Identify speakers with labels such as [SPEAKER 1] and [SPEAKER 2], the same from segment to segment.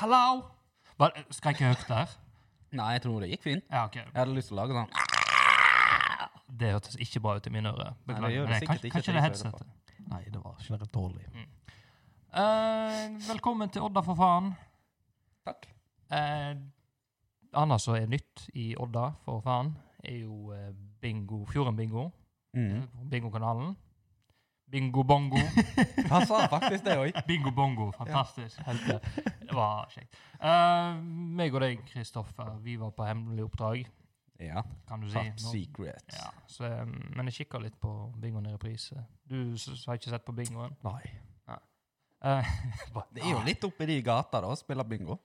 [SPEAKER 1] Hello! Hva, skal jeg ikke høyt der?
[SPEAKER 2] Nei, jeg tror det gikk fint.
[SPEAKER 1] Ja, ok.
[SPEAKER 2] Jeg hadde lyst til å lage sånn
[SPEAKER 1] Det hørtes ikke bra ut i mine ører.
[SPEAKER 2] Nei, det
[SPEAKER 1] Beklager.
[SPEAKER 2] gjør det
[SPEAKER 1] Men jeg-
[SPEAKER 2] sikkert
[SPEAKER 1] kanskje,
[SPEAKER 2] ikke
[SPEAKER 1] kanskje det er
[SPEAKER 2] til jeg hører
[SPEAKER 1] headsetet. Mm.
[SPEAKER 3] Nei, det var generelt dårlig.
[SPEAKER 1] Eh, velkommen til Odda, for faen.
[SPEAKER 2] Takk.
[SPEAKER 1] Eh, annet som er nytt i Odda, for faen, er jo eh, bingo, Fjorden-bingo.
[SPEAKER 2] Mm.
[SPEAKER 1] Bingokanalen. Bingo bongo.
[SPEAKER 2] Han sa faktisk det òg.
[SPEAKER 1] Bingo bongo. Fantastisk. Helt det. Det var kjekt. Eh, meg og deg, Kristoffer, vi var på hemmelig oppdrag,
[SPEAKER 2] Ja.
[SPEAKER 1] kan du si.
[SPEAKER 2] Top
[SPEAKER 1] Nå-
[SPEAKER 2] secret.
[SPEAKER 1] Ja, så, eh, men jeg kikka litt på bingoen i reprise. Du s s- har ikke sett på bingoen?
[SPEAKER 3] Nei.
[SPEAKER 1] Eh,
[SPEAKER 2] Det er jo litt oppi de gata da, å spille bingo.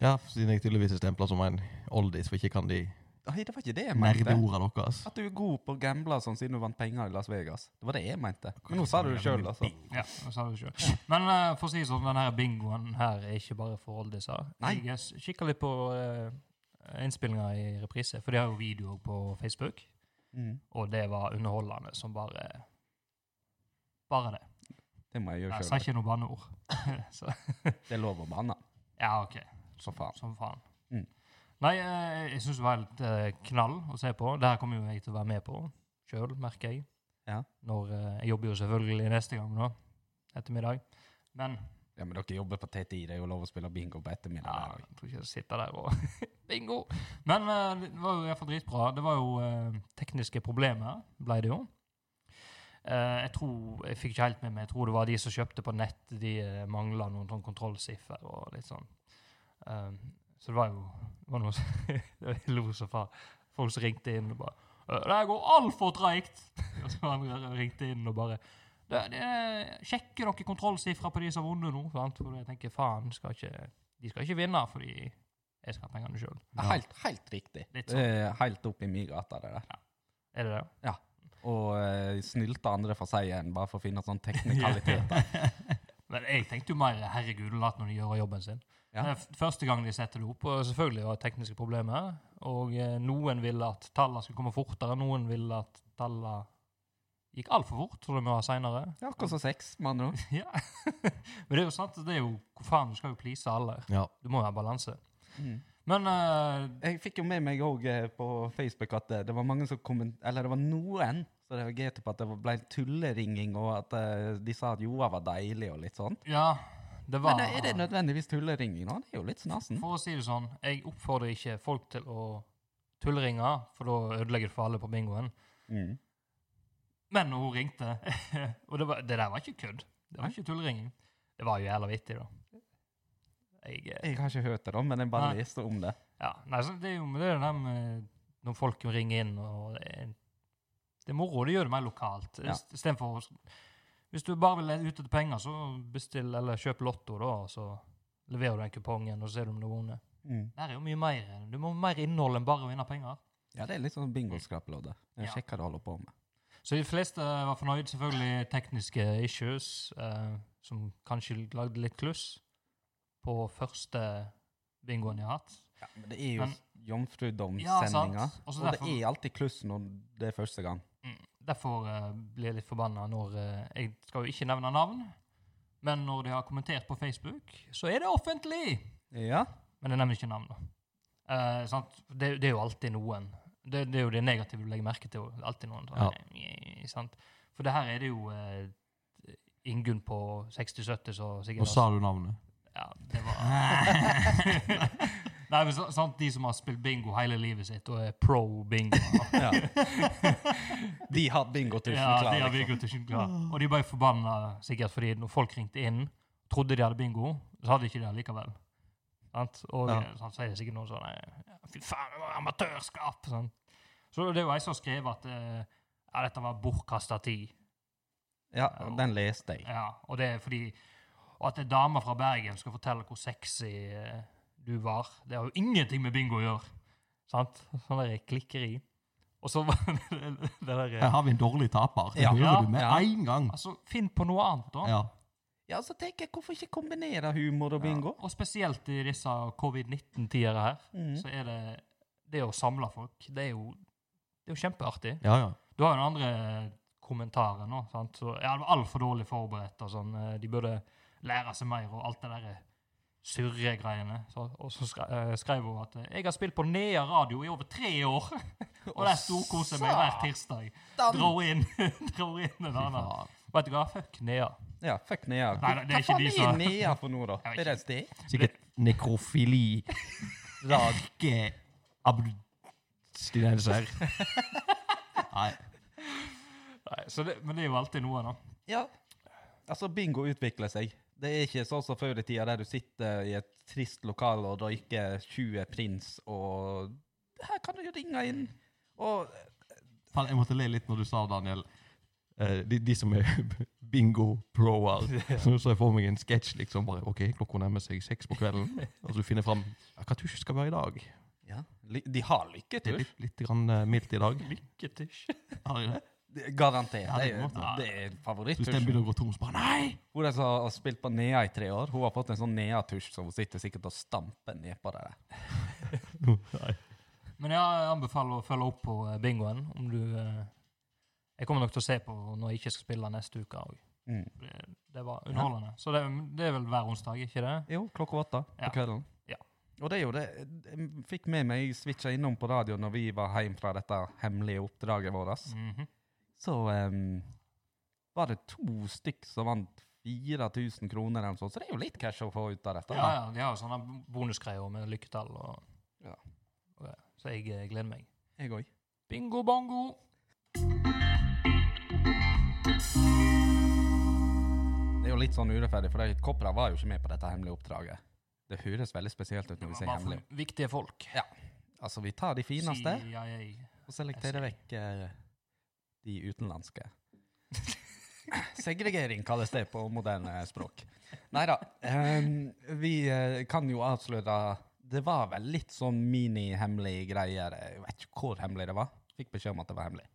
[SPEAKER 3] Ja, siden jeg tydeligvis er stempla som en oldies, for ikke kan de
[SPEAKER 2] Nei, det var ikke det jeg mente.
[SPEAKER 3] nerdeorda deres.
[SPEAKER 2] At du er god på å gamble og sånn siden du vant penger i Las Vegas. Det var det jeg mente. Men nå sa du det sjøl, altså.
[SPEAKER 1] ja, jeg sa det selv. Men eh, for å si det sånn, denne bingoen her er ikke bare for oldiser.
[SPEAKER 2] Nei.
[SPEAKER 1] Jeg s- kikka litt på eh, innspillinga i reprise, for de har jo videoer på Facebook.
[SPEAKER 2] Mm.
[SPEAKER 1] Og det var underholdende som bare Bare det.
[SPEAKER 2] Det må jeg gjøre
[SPEAKER 1] Jeg sa
[SPEAKER 2] sjøl.
[SPEAKER 1] ikke noe banneord. Så,
[SPEAKER 2] Det er lov å banne.
[SPEAKER 1] ja, OK.
[SPEAKER 2] Så faen.
[SPEAKER 1] Som faen.
[SPEAKER 2] Mm.
[SPEAKER 1] Nei, eh, jeg syns det var helt eh, knall å se på. Det her kommer jo jeg til å være med på sjøl, merker jeg.
[SPEAKER 2] Ja.
[SPEAKER 1] Når eh, Jeg jobber jo selvfølgelig neste gang nå, ettermiddag. Men
[SPEAKER 2] Ja, men dere jobber på TTI, det er jo lov å spille bingo på
[SPEAKER 1] ja,
[SPEAKER 2] ettermiddag. der også.
[SPEAKER 1] jeg tror ikke jeg sitter der og Bingo! Men eh, det var jo iallfall dritbra. Det var jo eh, tekniske problemer, ble det jo. Eh, jeg tror, jeg fikk ikke helt med meg, jeg tror det var de som kjøpte på nett, de uh, mangla noen sånn kontrollsiffer og litt sånn. Eh, så det var jo det var noe som, Jeg lo så faen. Folk som ringte inn og bare «Eh, 'Det her går altfor treigt!' Og så andre ringte inn og bare det, det, 'Sjekker dere kontrollsifra på de som har vunnet nå?' Sant? For jeg tenker faen, skal ikke, de skal ikke vinne fordi jeg skal ha pengene sjøl.
[SPEAKER 2] Det er Helt, helt riktig.
[SPEAKER 1] Litt
[SPEAKER 2] Det er helt opp i min gata, det der.
[SPEAKER 1] Er det det?
[SPEAKER 2] Og eh, snylte andre for seieren bare for å finne sånne teknikaliteter.
[SPEAKER 1] Men jeg tenkte jo mer 'herregud, la når de gjør jobben sin'.
[SPEAKER 2] Ja.
[SPEAKER 1] Det er f- første gang de setter det opp, og selvfølgelig var det tekniske problemer. Og eh, noen ville at tallene skulle komme fortere, noen ville at tallene gikk altfor fort, så det må ha seinere.
[SPEAKER 2] Ja, akkurat som sex, med andre ord.
[SPEAKER 1] Ja. Men det er jo sant, det er jo Hvor faen, du skal jo please alle.
[SPEAKER 3] Ja.
[SPEAKER 1] Du må jo ha balanse.
[SPEAKER 2] Mm.
[SPEAKER 1] Men eh,
[SPEAKER 2] Jeg fikk jo med meg òg på Facebook at eh, det var mange som komment... Eller det var noen som reagerte på at det ble tulleringing, og at eh, de sa at Joa var deilig og litt sånn.
[SPEAKER 1] ja, det var
[SPEAKER 2] Men det, Mm. er det nødvendigvis tulleringing nå? Det er jo litt snasen.
[SPEAKER 1] For å si det sånn, jeg oppfordrer ikke folk til å tullringe, for da ødelegger du for alle på bingoen.
[SPEAKER 2] Mm.
[SPEAKER 1] Men når hun ringte Og det, var, det der var ikke kødd. Det var ikke tullringing. Det var jo jævla vittig, da. Jeg, eh,
[SPEAKER 2] Jeg har ikke hørt det, da, men jeg bare
[SPEAKER 1] Nei.
[SPEAKER 2] leste om det.
[SPEAKER 1] ja, nei, så det er jo men det er jo det med når folk ringer inn, og det er, det er moro. Det gjør det mer lokalt.
[SPEAKER 2] Ja.
[SPEAKER 1] Istedenfor Hvis du bare vil ut etter penger, så bestill eller kjøp Lotto, da, og så leverer du den kupongen, og så ser du om du har vunnet.
[SPEAKER 2] Mm.
[SPEAKER 1] Det her er jo mye mer. Du må ha mer innhold enn bare å vinne penger.
[SPEAKER 2] Ja, det er litt sånn bingoskrapelodde.
[SPEAKER 1] Ja.
[SPEAKER 2] Jeg sjekker hva du holder på med.
[SPEAKER 1] Så de fleste var fornøyd. Selvfølgelig tekniske issues eh, som kanskje lagde litt kluss på første bingoen jeg har hatt.
[SPEAKER 2] Ja, men det er jo
[SPEAKER 1] Men- Ja,
[SPEAKER 2] jomfrudomssendinga,
[SPEAKER 1] sant. Og så
[SPEAKER 2] og det
[SPEAKER 1] derfor-
[SPEAKER 2] er alltid kluss når det er første gang.
[SPEAKER 1] Mm. Derfor eh, blir jeg litt forbanna når eh, Jeg skal jo ikke nevne navn, men når de har kommentert på Facebook, så er det offentlig!
[SPEAKER 2] Ja.
[SPEAKER 1] Men jeg nevner ikke navn, da. Eh, sant? Det, det er jo alltid noen. Det, det er jo det negative du legger merke til. og Alltid noen.
[SPEAKER 3] Ja.
[SPEAKER 1] Eh, sant? For det her er det jo eh, Ingunn på 60-70 som sikkert
[SPEAKER 3] Nå sa du navnet.
[SPEAKER 1] Ja, det var Nei, men så- sant, De som har spilt bingo hele livet sitt og er pro bingo.
[SPEAKER 2] ja. De har bingotusjen
[SPEAKER 1] ja, de
[SPEAKER 2] klar.
[SPEAKER 1] har
[SPEAKER 2] liksom.
[SPEAKER 1] bingo til klar. Og de ble forbanna sikkert fordi når folk ringte inn, trodde de hadde bingo, så hadde de ikke det likevel. Sant? Og
[SPEAKER 3] Ja.
[SPEAKER 1] eh, sant, så er det sikkert noen sånn eh, Fy faen, det var amatørskap! sant? Så det er jo ei som skrev at eh, ja, dette var bortkasta tid.
[SPEAKER 2] Ja, og den leste jeg.
[SPEAKER 1] Ja, og det er fordi og at en dame fra Bergen skal fortelle hvor sexy eh, du var, det har jo ingenting med bingo å gjøre. Sant? Sånn der klikkeri. Og så var det det der eh,
[SPEAKER 3] Her har vi en dårlig taper. Det
[SPEAKER 2] Ja.
[SPEAKER 3] hører du med
[SPEAKER 2] Ja.
[SPEAKER 3] en gang.
[SPEAKER 1] Altså, finn på noe annet, da.
[SPEAKER 3] Ja.
[SPEAKER 2] Ja, så tenker jeg, hvorfor ikke kombinere humor og bingo?
[SPEAKER 1] Og spesielt i disse covid-19-tider her,
[SPEAKER 2] Mhm.
[SPEAKER 1] så er det det å samle folk, det er jo, det er jo kjempeartig.
[SPEAKER 3] ja, ja.
[SPEAKER 1] Du har jo den andre kommentaren nå, sant? Så, ja, det var altfor dårlig forberedt og sånn. eh, De burde lære seg mer og alt det der surregreiene. Så, og så skre, eh, skrev hun at eh, 'jeg har spilt på Nea radio i over tre år', og der storkoser jeg meg hver tirsdag. Dra inn, dra inn en annen. Vet du hva, fuck Nea.
[SPEAKER 2] Ja, fuck Nea.
[SPEAKER 1] Nei, nei, det er
[SPEAKER 2] Hva
[SPEAKER 1] ikke
[SPEAKER 2] faen
[SPEAKER 1] de
[SPEAKER 2] er
[SPEAKER 1] som-
[SPEAKER 2] Nea for noe, da?
[SPEAKER 1] Jeg vet
[SPEAKER 2] Er det et sted?
[SPEAKER 3] Sikkert nekrofili. Rake abstinenser. Nei.
[SPEAKER 1] Nei, så det, men det er jo alltid noe, da.
[SPEAKER 2] Ja. Altså, bingo utvikler seg. Det er ikke sånn som før i tida, der du sitter i et trist lokale og røyker 20 prins, og her kan du jo ringe inn. Og
[SPEAKER 3] Faen, jeg måtte le litt når du sa, Daniel, eh, de, de som er bingo-proer. Så nå så jeg for meg en sketsj, liksom. bare, Ok, klokka nærmer seg seks på kvelden. Og så finner jeg fram ja, hva tusj skal være i dag.
[SPEAKER 2] ja, ly- de har
[SPEAKER 3] Det er
[SPEAKER 2] lykketur.
[SPEAKER 3] litt, litt grann, eh, mildt i dag.
[SPEAKER 1] Lykketusj.
[SPEAKER 3] Har de det?
[SPEAKER 2] Det- Garantert.
[SPEAKER 3] Ja,
[SPEAKER 2] Det
[SPEAKER 3] det
[SPEAKER 2] er,
[SPEAKER 3] må det.
[SPEAKER 2] det er
[SPEAKER 3] Så hvis den
[SPEAKER 2] favoritttusjen.
[SPEAKER 3] begynner å gå tom, så bare Nei!
[SPEAKER 2] Hun der som har spilt på Nea i tre år, hun har fått en sånn Nea-tusj som hun sitter sikkert og stamper ned på det der.
[SPEAKER 3] Nei.
[SPEAKER 1] Men jeg anbefaler å følge opp på eh, bingoen. Om du eh, Jeg kommer nok til å se på når jeg ikke skal spille neste uke òg.
[SPEAKER 2] Mm.
[SPEAKER 1] Det, det var underholdende. Så det, det er vel hver onsdag, ikke det?
[SPEAKER 2] Jo, klokka åtte
[SPEAKER 1] Ja.
[SPEAKER 2] på kvelden.
[SPEAKER 1] Ja.
[SPEAKER 2] Og det er jo det Jeg fikk med meg Jeg switcha innom på radioen når vi var hjemme fra dette hemmelige oppdraget vårt.
[SPEAKER 1] Mhm.
[SPEAKER 2] så em, var det to stykk som vant 4000 kroner eller noe sånt, så det er jo litt cash å få ut av dette.
[SPEAKER 1] Ja,
[SPEAKER 2] da.
[SPEAKER 1] ja, de har jo sånne bonusgreier med lykketall og,
[SPEAKER 2] Ja.
[SPEAKER 1] og det. Så jeg eh, gleder meg.
[SPEAKER 2] Jeg òg.
[SPEAKER 1] Bingo bongo!
[SPEAKER 2] Det er jo litt sånn urettferdig, for de Kopra var jo ikke med på dette hemmelige oppdraget. Det høres veldig spesielt ut
[SPEAKER 1] Det
[SPEAKER 2] når vi
[SPEAKER 1] var
[SPEAKER 2] sier
[SPEAKER 1] bare
[SPEAKER 2] hemmelig.
[SPEAKER 1] for viktige folk.
[SPEAKER 2] Altså, vi tar de fineste,
[SPEAKER 1] CIA.
[SPEAKER 2] og selekterer vekk eh, de utenlandske. Segregering kalles det på moderne språk. Nei da. vi eh, kan jo avsløre Det var vel litt sånn mini-hemmelig greier. Jeg vet ikke hvor hemmelig det var. Fikk beskjed om at det var hemmelig.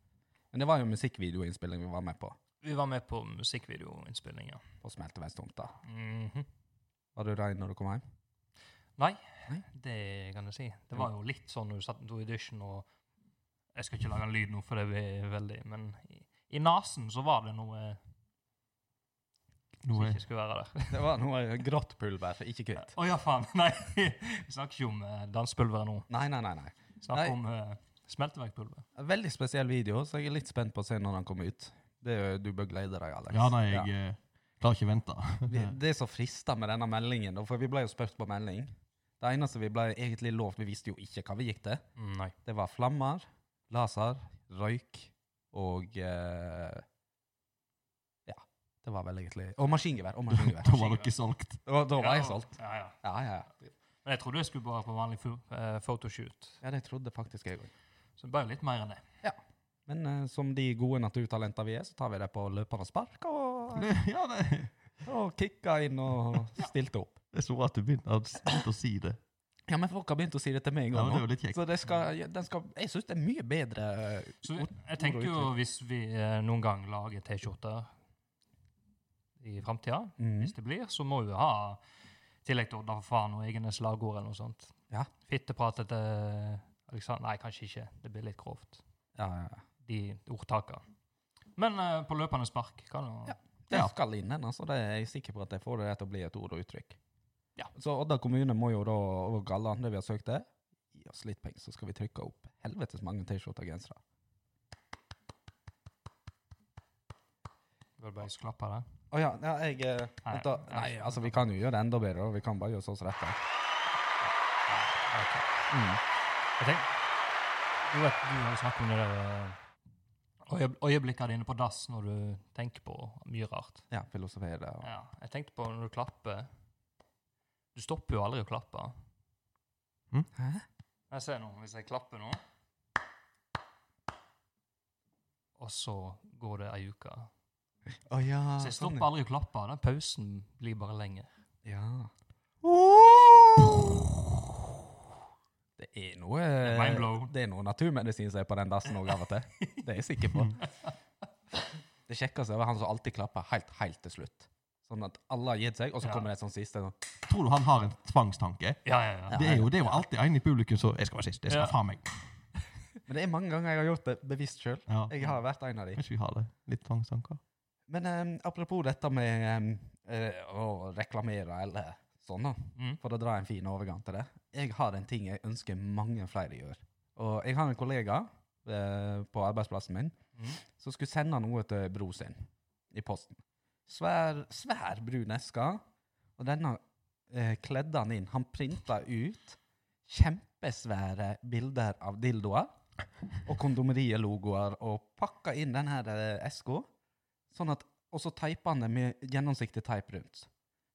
[SPEAKER 2] Men det var jo musikkvideoinnspilling vi var med på.
[SPEAKER 1] Vi var med på musikkvideoinnspillinga.
[SPEAKER 2] På Smelteveistomta.
[SPEAKER 1] Mhm.
[SPEAKER 2] Var du rein når du kom hjem?
[SPEAKER 1] Nei,
[SPEAKER 2] Nei?
[SPEAKER 1] det kan jeg si. Det var jo litt sånn når du satt i audition og Jeg skal ikke lage en lyd nå, for det blir veldig Men i, i nesen så var det noe som
[SPEAKER 3] Noe
[SPEAKER 1] ikke skulle være der.
[SPEAKER 2] Det var noe grått pulver, ikke kutt.
[SPEAKER 1] Å ja, faen! Nei, vi snakker ikke om eh, danspulveret nå.
[SPEAKER 2] Nei, nei, nei. nei.
[SPEAKER 1] Vi snakker
[SPEAKER 2] Nei.
[SPEAKER 1] om eh, smelteverkpulver.
[SPEAKER 2] En Veldig spesiell video, så jeg er litt spent på å se når den kommer ut. Det, er jo- du bør glede deg, Alex.
[SPEAKER 3] Ja, nei, jeg eh, klarer ikke å vente.
[SPEAKER 2] Vi- Det er så frista med denne meldingen, da, for vi ble jo spurt på melding. Det eneste vi ble egentlig lovt, vi visste jo ikke hva vi gikk til,
[SPEAKER 1] Mm, Nei.
[SPEAKER 2] det var flammer, laser, røyk og eh, Ja. Det var vel egentlig Og maskingevær. Og maskingevær.
[SPEAKER 3] Da var dere solgt.
[SPEAKER 2] Da, da var jeg
[SPEAKER 1] Ja,
[SPEAKER 2] solgt.
[SPEAKER 1] Ja, ja.
[SPEAKER 2] Ja, ja, ja.
[SPEAKER 1] Men jeg trodde jeg skulle bare på vanlig fu- eh, photoshoot.
[SPEAKER 2] ja det trodde faktisk jeg òg.
[SPEAKER 1] Så det ble jo litt mer enn det.
[SPEAKER 2] Men eh, som de gode naturtalenter vi er, så tar vi det på løpende spark og,
[SPEAKER 3] Ja, det,
[SPEAKER 2] og kicka inn og stilte opp.
[SPEAKER 3] det er så rart du begynte å- begynte å si det.
[SPEAKER 2] Ja, men folk har begynt å si det til meg en
[SPEAKER 3] Ja, men
[SPEAKER 2] gang
[SPEAKER 3] det
[SPEAKER 2] nå.
[SPEAKER 3] er jo litt kjekt.
[SPEAKER 2] Så det skal, ja, den skal, jeg syns det er mye bedre eh,
[SPEAKER 1] Så
[SPEAKER 2] ord-
[SPEAKER 1] jeg tenker jo hvis vi eh, noen gang lager T-skjorter i framtida,
[SPEAKER 2] Mhm.
[SPEAKER 1] hvis det blir, så må vi ha i tillegg til Odda for faen og egne slagord eller noe sånt.
[SPEAKER 2] Ja.
[SPEAKER 1] Fitteprat etter Alexander Nei, kanskje ikke. Det blir litt grovt,
[SPEAKER 2] Ja, ja, ja.
[SPEAKER 1] de ordtakene. Men eh, på løpende spark kan jo ja.
[SPEAKER 2] Ja. Det
[SPEAKER 3] Ja.
[SPEAKER 2] skal inn den, altså. Det er jeg sikker på at jeg får det til å bli et ord og uttrykk.
[SPEAKER 1] Ja.
[SPEAKER 2] Så Odda kommune må jo da, og alle andre vi har søkt det, gi oss litt penger, så skal vi trykke opp helvetes mange T-skjorter og gensere.
[SPEAKER 1] Bør bare klappe det.
[SPEAKER 2] Å ja, ja, jeg eh,
[SPEAKER 1] Nei,
[SPEAKER 2] vent da. Nei,
[SPEAKER 1] jeg-
[SPEAKER 2] altså, vi kan jo gjøre det enda bedre, og vi kan bare gjøre sånn oss rette.
[SPEAKER 1] Ok.
[SPEAKER 2] Mm.
[SPEAKER 1] Jeg tenk- Du vet, du har jo snakket om det der eh, øye- øyeblikkene dine på dass når du tenker på mye rart.
[SPEAKER 2] Ja, filosofere og
[SPEAKER 1] Ja, jeg tenkte på når du klapper Du stopper jo aldri å klappe.
[SPEAKER 2] Hæ?
[SPEAKER 1] Jeg ser nå, hvis jeg klapper nå Og så går det ei uke.
[SPEAKER 3] Ah,
[SPEAKER 2] Å ja.
[SPEAKER 1] Så
[SPEAKER 2] sånn,
[SPEAKER 3] sånn,
[SPEAKER 1] jeg stopper aldri å klappe. Den pausen blir bare lenger.
[SPEAKER 2] Ja. Det er noe
[SPEAKER 3] Eh,
[SPEAKER 2] eh,
[SPEAKER 1] Mindblow.
[SPEAKER 2] Det er noe naturmedisin som er på den dassen òg, av og til. Det er jeg sikker på. Det kjekkeste var han som alltid klapper helt, helt til slutt. Sånn at alle har gitt seg, og så
[SPEAKER 1] Ja.
[SPEAKER 2] kommer det et sånt siste. Sånn.
[SPEAKER 3] Tror du han har en tvangstanke?
[SPEAKER 1] Ja, ja, ja.
[SPEAKER 3] Det er jo, det er jo alltid en i publikum som Jeg skal være sist. Jeg skal
[SPEAKER 1] Ja.
[SPEAKER 3] faen meg.
[SPEAKER 2] Men det er mange ganger jeg har gjort det bevisst sjøl.
[SPEAKER 3] Ja.
[SPEAKER 2] Jeg har vært en av de.
[SPEAKER 3] Kanskje vi har det. Litt tvangstanker.
[SPEAKER 2] Men eh, apropos dette med eh, eh, å reklamere eller sånn, da.
[SPEAKER 1] Mm.
[SPEAKER 2] For å dra en fin overgang til det. Jeg har en ting jeg ønsker mange flere gjør. Og jeg har en kollega eh, på arbeidsplassen min
[SPEAKER 1] Mm.
[SPEAKER 2] som skulle sende noe til bror sin i posten. Svær, svær brun eske. Og denne eh, kledde han inn. Han printa ut kjempesvære bilder av dildoer og kondomeriet-logoer og pakka inn denne eh, eska. Sånn at, og så teipa han det med gjennomsiktig teip rundt.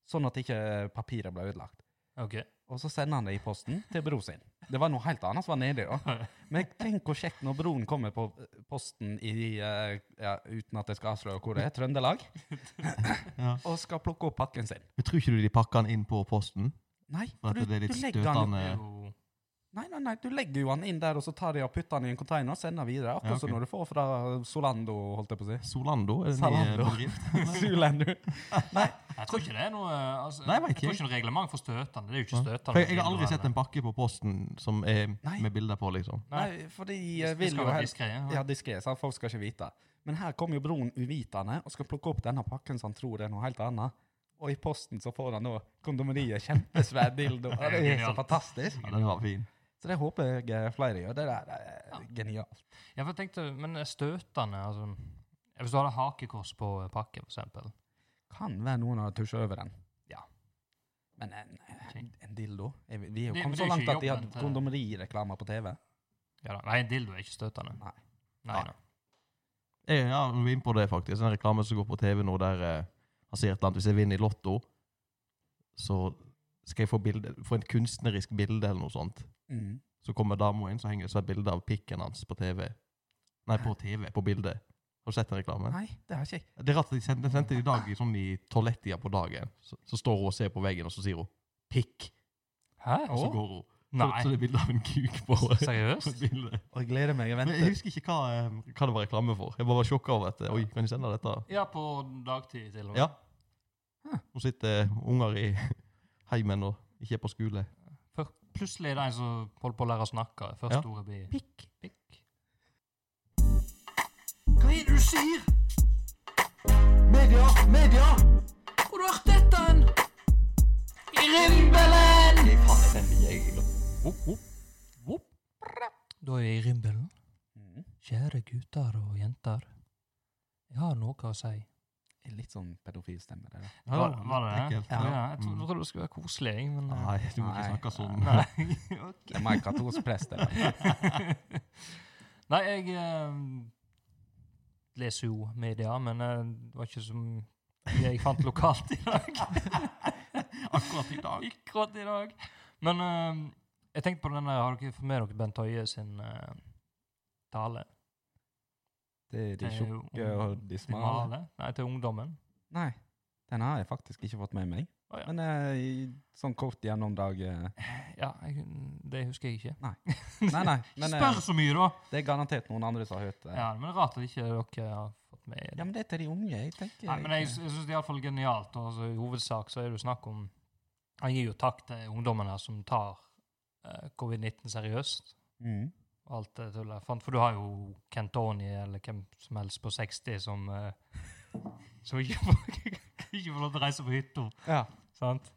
[SPEAKER 2] Sånn at ikke eh, papiret ble ødelagt.
[SPEAKER 1] OK.
[SPEAKER 2] Og så sender han det i posten til bror sin. Det var noe helt annet som var nedi. da. Men tenk hvor kjekt når broren kommer på eh, posten i eh, ja, uten at jeg skal avsløre hvor det er, Trøndelag,
[SPEAKER 3] Ja.
[SPEAKER 2] og skal plukke opp pakken sin.
[SPEAKER 3] Men tror ikke du de pakker den inn på posten?
[SPEAKER 2] Nei,
[SPEAKER 3] For
[SPEAKER 2] for
[SPEAKER 3] at
[SPEAKER 2] du,
[SPEAKER 3] det er
[SPEAKER 2] du,
[SPEAKER 3] litt
[SPEAKER 2] legger han,
[SPEAKER 1] Det
[SPEAKER 3] støtende?
[SPEAKER 1] er jo
[SPEAKER 2] nei, nei, nei, du legger jo han inn der, og så tar de og putter han i en container og sender videre. Akkurat
[SPEAKER 3] Ja, ok.
[SPEAKER 2] som når du får fra Solando, holdt jeg på å si.
[SPEAKER 3] Solando? Er det
[SPEAKER 2] Zalando.
[SPEAKER 3] Solando. bedrift?
[SPEAKER 2] Sulando.
[SPEAKER 1] Jeg tror ikke det er noe eh, altså,
[SPEAKER 3] Nei, jeg vet
[SPEAKER 1] Jeg tror
[SPEAKER 3] ikke.
[SPEAKER 1] ikke det er reglement for støtende. Det er jo ikke
[SPEAKER 3] Ja.
[SPEAKER 1] støtende.
[SPEAKER 3] For jeg, jeg har aldri sett en pakke på posten som er
[SPEAKER 2] Nei.
[SPEAKER 3] med bilder på, liksom.
[SPEAKER 1] Nei.
[SPEAKER 2] Nei, for de
[SPEAKER 1] Vi
[SPEAKER 2] eh, vil
[SPEAKER 1] skal
[SPEAKER 2] jo
[SPEAKER 1] være
[SPEAKER 2] helst
[SPEAKER 1] diskré.
[SPEAKER 2] Ja, diskré, så folk skal ikke vite. Men her kommer jo broren uvitende og skal plukke opp denne pakken så han tror det er noe helt annet. Og i posten så får han nå kondomeriet, kjempesvær dildo. Ja, Det er så
[SPEAKER 1] Genialt.
[SPEAKER 2] fantastisk.
[SPEAKER 3] Ja, den var fin.
[SPEAKER 2] Så det håper jeg eh, flere gjør. Det der er eh, genialt.
[SPEAKER 1] Ja, for jeg tenkte, men støtende, altså jeg Hvis du hadde hakekors på eh, pakke, for eksempel.
[SPEAKER 2] Kan være noen har tusja over den.
[SPEAKER 1] Ja.
[SPEAKER 2] Men en, en dildo Jeg- Vi er
[SPEAKER 1] Det-
[SPEAKER 2] jo
[SPEAKER 1] men
[SPEAKER 2] kommet
[SPEAKER 1] det er
[SPEAKER 2] så
[SPEAKER 1] ikke
[SPEAKER 2] langt at de har
[SPEAKER 1] jobben til-
[SPEAKER 2] kondomerireklamer på TV.
[SPEAKER 1] Ja da. Nei, en dildo er ikke støtende.
[SPEAKER 2] Nei.
[SPEAKER 1] Nei,
[SPEAKER 3] Nei.
[SPEAKER 1] da.
[SPEAKER 3] Jeg, ja, når vi er inne på det, faktisk. En reklame som går på TV nå, der eh, han sier et eller annet Hvis jeg vinner i Lotto, så skal jeg få, bilde, få et kunstnerisk bilde eller noe sånt.
[SPEAKER 2] Mm.
[SPEAKER 3] Så kommer dama inn, så henger det så et bilde av pikken hans på TV. Nei, på TV, på bildet. Har du sett den reklamen?
[SPEAKER 2] Nei, det har ikke jeg.
[SPEAKER 3] Det er rart at de sendte, sendte de i dag i sånn i toalettida på dagen. Så, så står hun og ser på veggen, og så sier hun 'pikk',
[SPEAKER 1] Hæ?
[SPEAKER 3] og så går hun. Så,
[SPEAKER 1] Nei.
[SPEAKER 3] så det er bilde av en kuk på på
[SPEAKER 1] Seriøst?
[SPEAKER 3] bildet.
[SPEAKER 2] Og jeg gleder meg. Jeg
[SPEAKER 3] Men jeg
[SPEAKER 2] venter.
[SPEAKER 3] husker ikke hva, eh, hva det var reklame for. Jeg bare var sjokka over at eh, Oi, kan de sende dette?
[SPEAKER 1] Ja, på dagtid til og med.
[SPEAKER 3] Ja. Nå sitter unger i heimen og ikke er på skole.
[SPEAKER 1] For plutselig er det en som holder på å lære å snakke. Første
[SPEAKER 3] Ja.
[SPEAKER 1] ordet blir
[SPEAKER 3] Pikk.
[SPEAKER 1] pikk.
[SPEAKER 4] Hva er det du sier? Media, media! Hvor har du hørt dette hen? I rimbelen! Fy faen, jeg tenker jeg egentlig.
[SPEAKER 1] Woop, woop, woop. Da er jeg i rimbelen.
[SPEAKER 2] Mm.
[SPEAKER 1] Kjære gutter og jenter. Jeg har noe å si.
[SPEAKER 2] Jeg er Litt sånn pedofil stemme. Det der.
[SPEAKER 1] Var, var det det?
[SPEAKER 3] Ekkelt.
[SPEAKER 1] Ja,
[SPEAKER 3] Ja. Mm.
[SPEAKER 1] jeg trodde, trodde det skulle være koselig, jeg, men eh,
[SPEAKER 3] Nei, du må ikke
[SPEAKER 2] Nei.
[SPEAKER 3] snakke sånn.
[SPEAKER 1] Nei.
[SPEAKER 2] Det er meg katolsk prest. det der.
[SPEAKER 1] Nei, jeg eh, leser jo media, men eh, det var ikke så mye jeg fant lokalt i dag.
[SPEAKER 3] Akkurat i dag.
[SPEAKER 1] Akkurat i dag. Men eh, jeg tenkte på den der, har dere fått med dere Bent Høie sin eh, tale?
[SPEAKER 2] Det er de
[SPEAKER 1] Eh,
[SPEAKER 2] tjukke
[SPEAKER 1] ung-
[SPEAKER 2] og de
[SPEAKER 1] til
[SPEAKER 2] smale.
[SPEAKER 1] male? Nei, til ungdommen.
[SPEAKER 2] Mhm. Nei, den har jeg faktisk ikke fått med meg.
[SPEAKER 1] Å, ja.
[SPEAKER 2] Men eh, i sånn kort gjennomdag eh,
[SPEAKER 1] Ja, jeg, det husker jeg ikke.
[SPEAKER 2] Nei, nei. Men eh,
[SPEAKER 1] Spør så mye, da!
[SPEAKER 2] det er garantert noen andre som har hørt det. Ja.
[SPEAKER 1] Ja, men det er rart at ikke dere har fått med det.
[SPEAKER 2] men det er til de unge. Jeg tenker
[SPEAKER 1] Nei, men jeg,
[SPEAKER 2] ikke-
[SPEAKER 1] jeg syns det er iallfall genialt. og Altså, I hovedsak så er det jo snakk om Han gir jo takk til ungdommene som tar eh, covid-19 seriøst.
[SPEAKER 2] mm.
[SPEAKER 1] og alt det tullet. Fan, For du har jo Kent Tony eller hvem som helst på 60 som eh, Som ikke får, ikke får lov til å reise på hytta,
[SPEAKER 2] ja.
[SPEAKER 1] sant?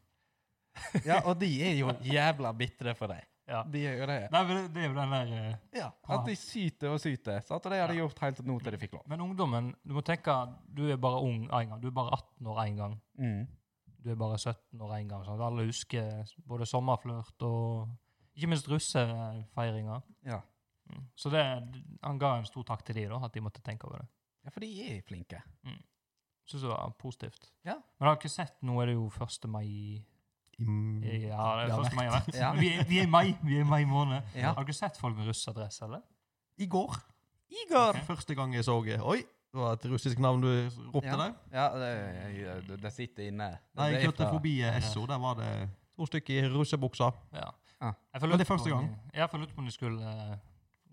[SPEAKER 2] ja, og de er jo jævla bitre for deg.
[SPEAKER 1] Ja.
[SPEAKER 2] De er jo det.
[SPEAKER 1] Nei, men det, det er jo den der eh,
[SPEAKER 2] Ja, At de syter og syter. Så at de hadde gjort helt til nå til de fikk lov.
[SPEAKER 1] Men ungdommen, du må tenke du er bare ung én gang. Du er bare 18 år én gang.
[SPEAKER 2] Mm.
[SPEAKER 1] Du er bare 17 år én gang. Sant? Alle husker både sommerflørt og ikke minst russefeiringa.
[SPEAKER 2] Ja.
[SPEAKER 1] Mm. Så det, han ga en stor takk til de da, at de måtte tenke over det.
[SPEAKER 2] ja, for de er flinke.
[SPEAKER 1] Synes det var positivt.
[SPEAKER 2] Ja.
[SPEAKER 1] Men har dere sett, nå er det jo 1. mai Mm. Ja, det
[SPEAKER 3] Det har
[SPEAKER 1] er 1. mai har vært.
[SPEAKER 2] Ja.
[SPEAKER 1] Men Vi, er, vi er i mai vi er i mai måned.
[SPEAKER 2] Ja.
[SPEAKER 1] Har dere sett folk med russedress, eller?
[SPEAKER 3] I går.
[SPEAKER 2] Igor!
[SPEAKER 3] Første gang jeg så eh, Oi, det var et russisk navn du ropte
[SPEAKER 2] Ja,
[SPEAKER 3] der.
[SPEAKER 2] ja det, det- det sitter inne.
[SPEAKER 3] Nei,
[SPEAKER 2] Det
[SPEAKER 3] jeg
[SPEAKER 2] er
[SPEAKER 3] kjørte
[SPEAKER 2] fra-
[SPEAKER 3] forbi eh, Esso. Der var det to stykker i russebuksa.
[SPEAKER 1] Ja.
[SPEAKER 2] Ja.
[SPEAKER 1] Jeg får
[SPEAKER 3] Men det er
[SPEAKER 1] lurt på
[SPEAKER 3] første
[SPEAKER 1] om-
[SPEAKER 3] gang.
[SPEAKER 1] Jeg får lurt på om de skulle eh,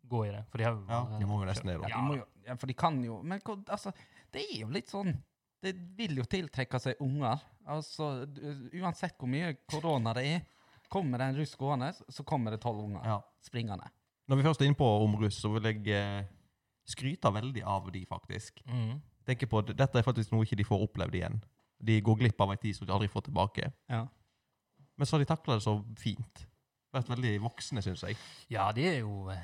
[SPEAKER 1] gå i det. For de har jo
[SPEAKER 3] Ja,
[SPEAKER 1] allerede
[SPEAKER 3] de må jo nesten det,
[SPEAKER 2] Ja,
[SPEAKER 3] da.
[SPEAKER 1] Ja,
[SPEAKER 2] de må jo, ja, for de kan jo Men hva- altså, det er jo litt sånn Det vil jo tiltrekke seg unger. Altså, du- Uansett hvor mye korona det er, kommer det en russ gående, så kommer det tolv unger
[SPEAKER 3] Ja.
[SPEAKER 2] springende.
[SPEAKER 3] Når vi først er inne på om russ, så vil jeg eh, skryte veldig av de, faktisk.
[SPEAKER 1] Mm.
[SPEAKER 3] Tenker på at Dette er faktisk noe ikke de får opplevd igjen. De går glipp av en tid som de aldri får tilbake. Men så har de takla det så fint. Vært veldig voksne, syns jeg.
[SPEAKER 1] Ja, de er jo eh,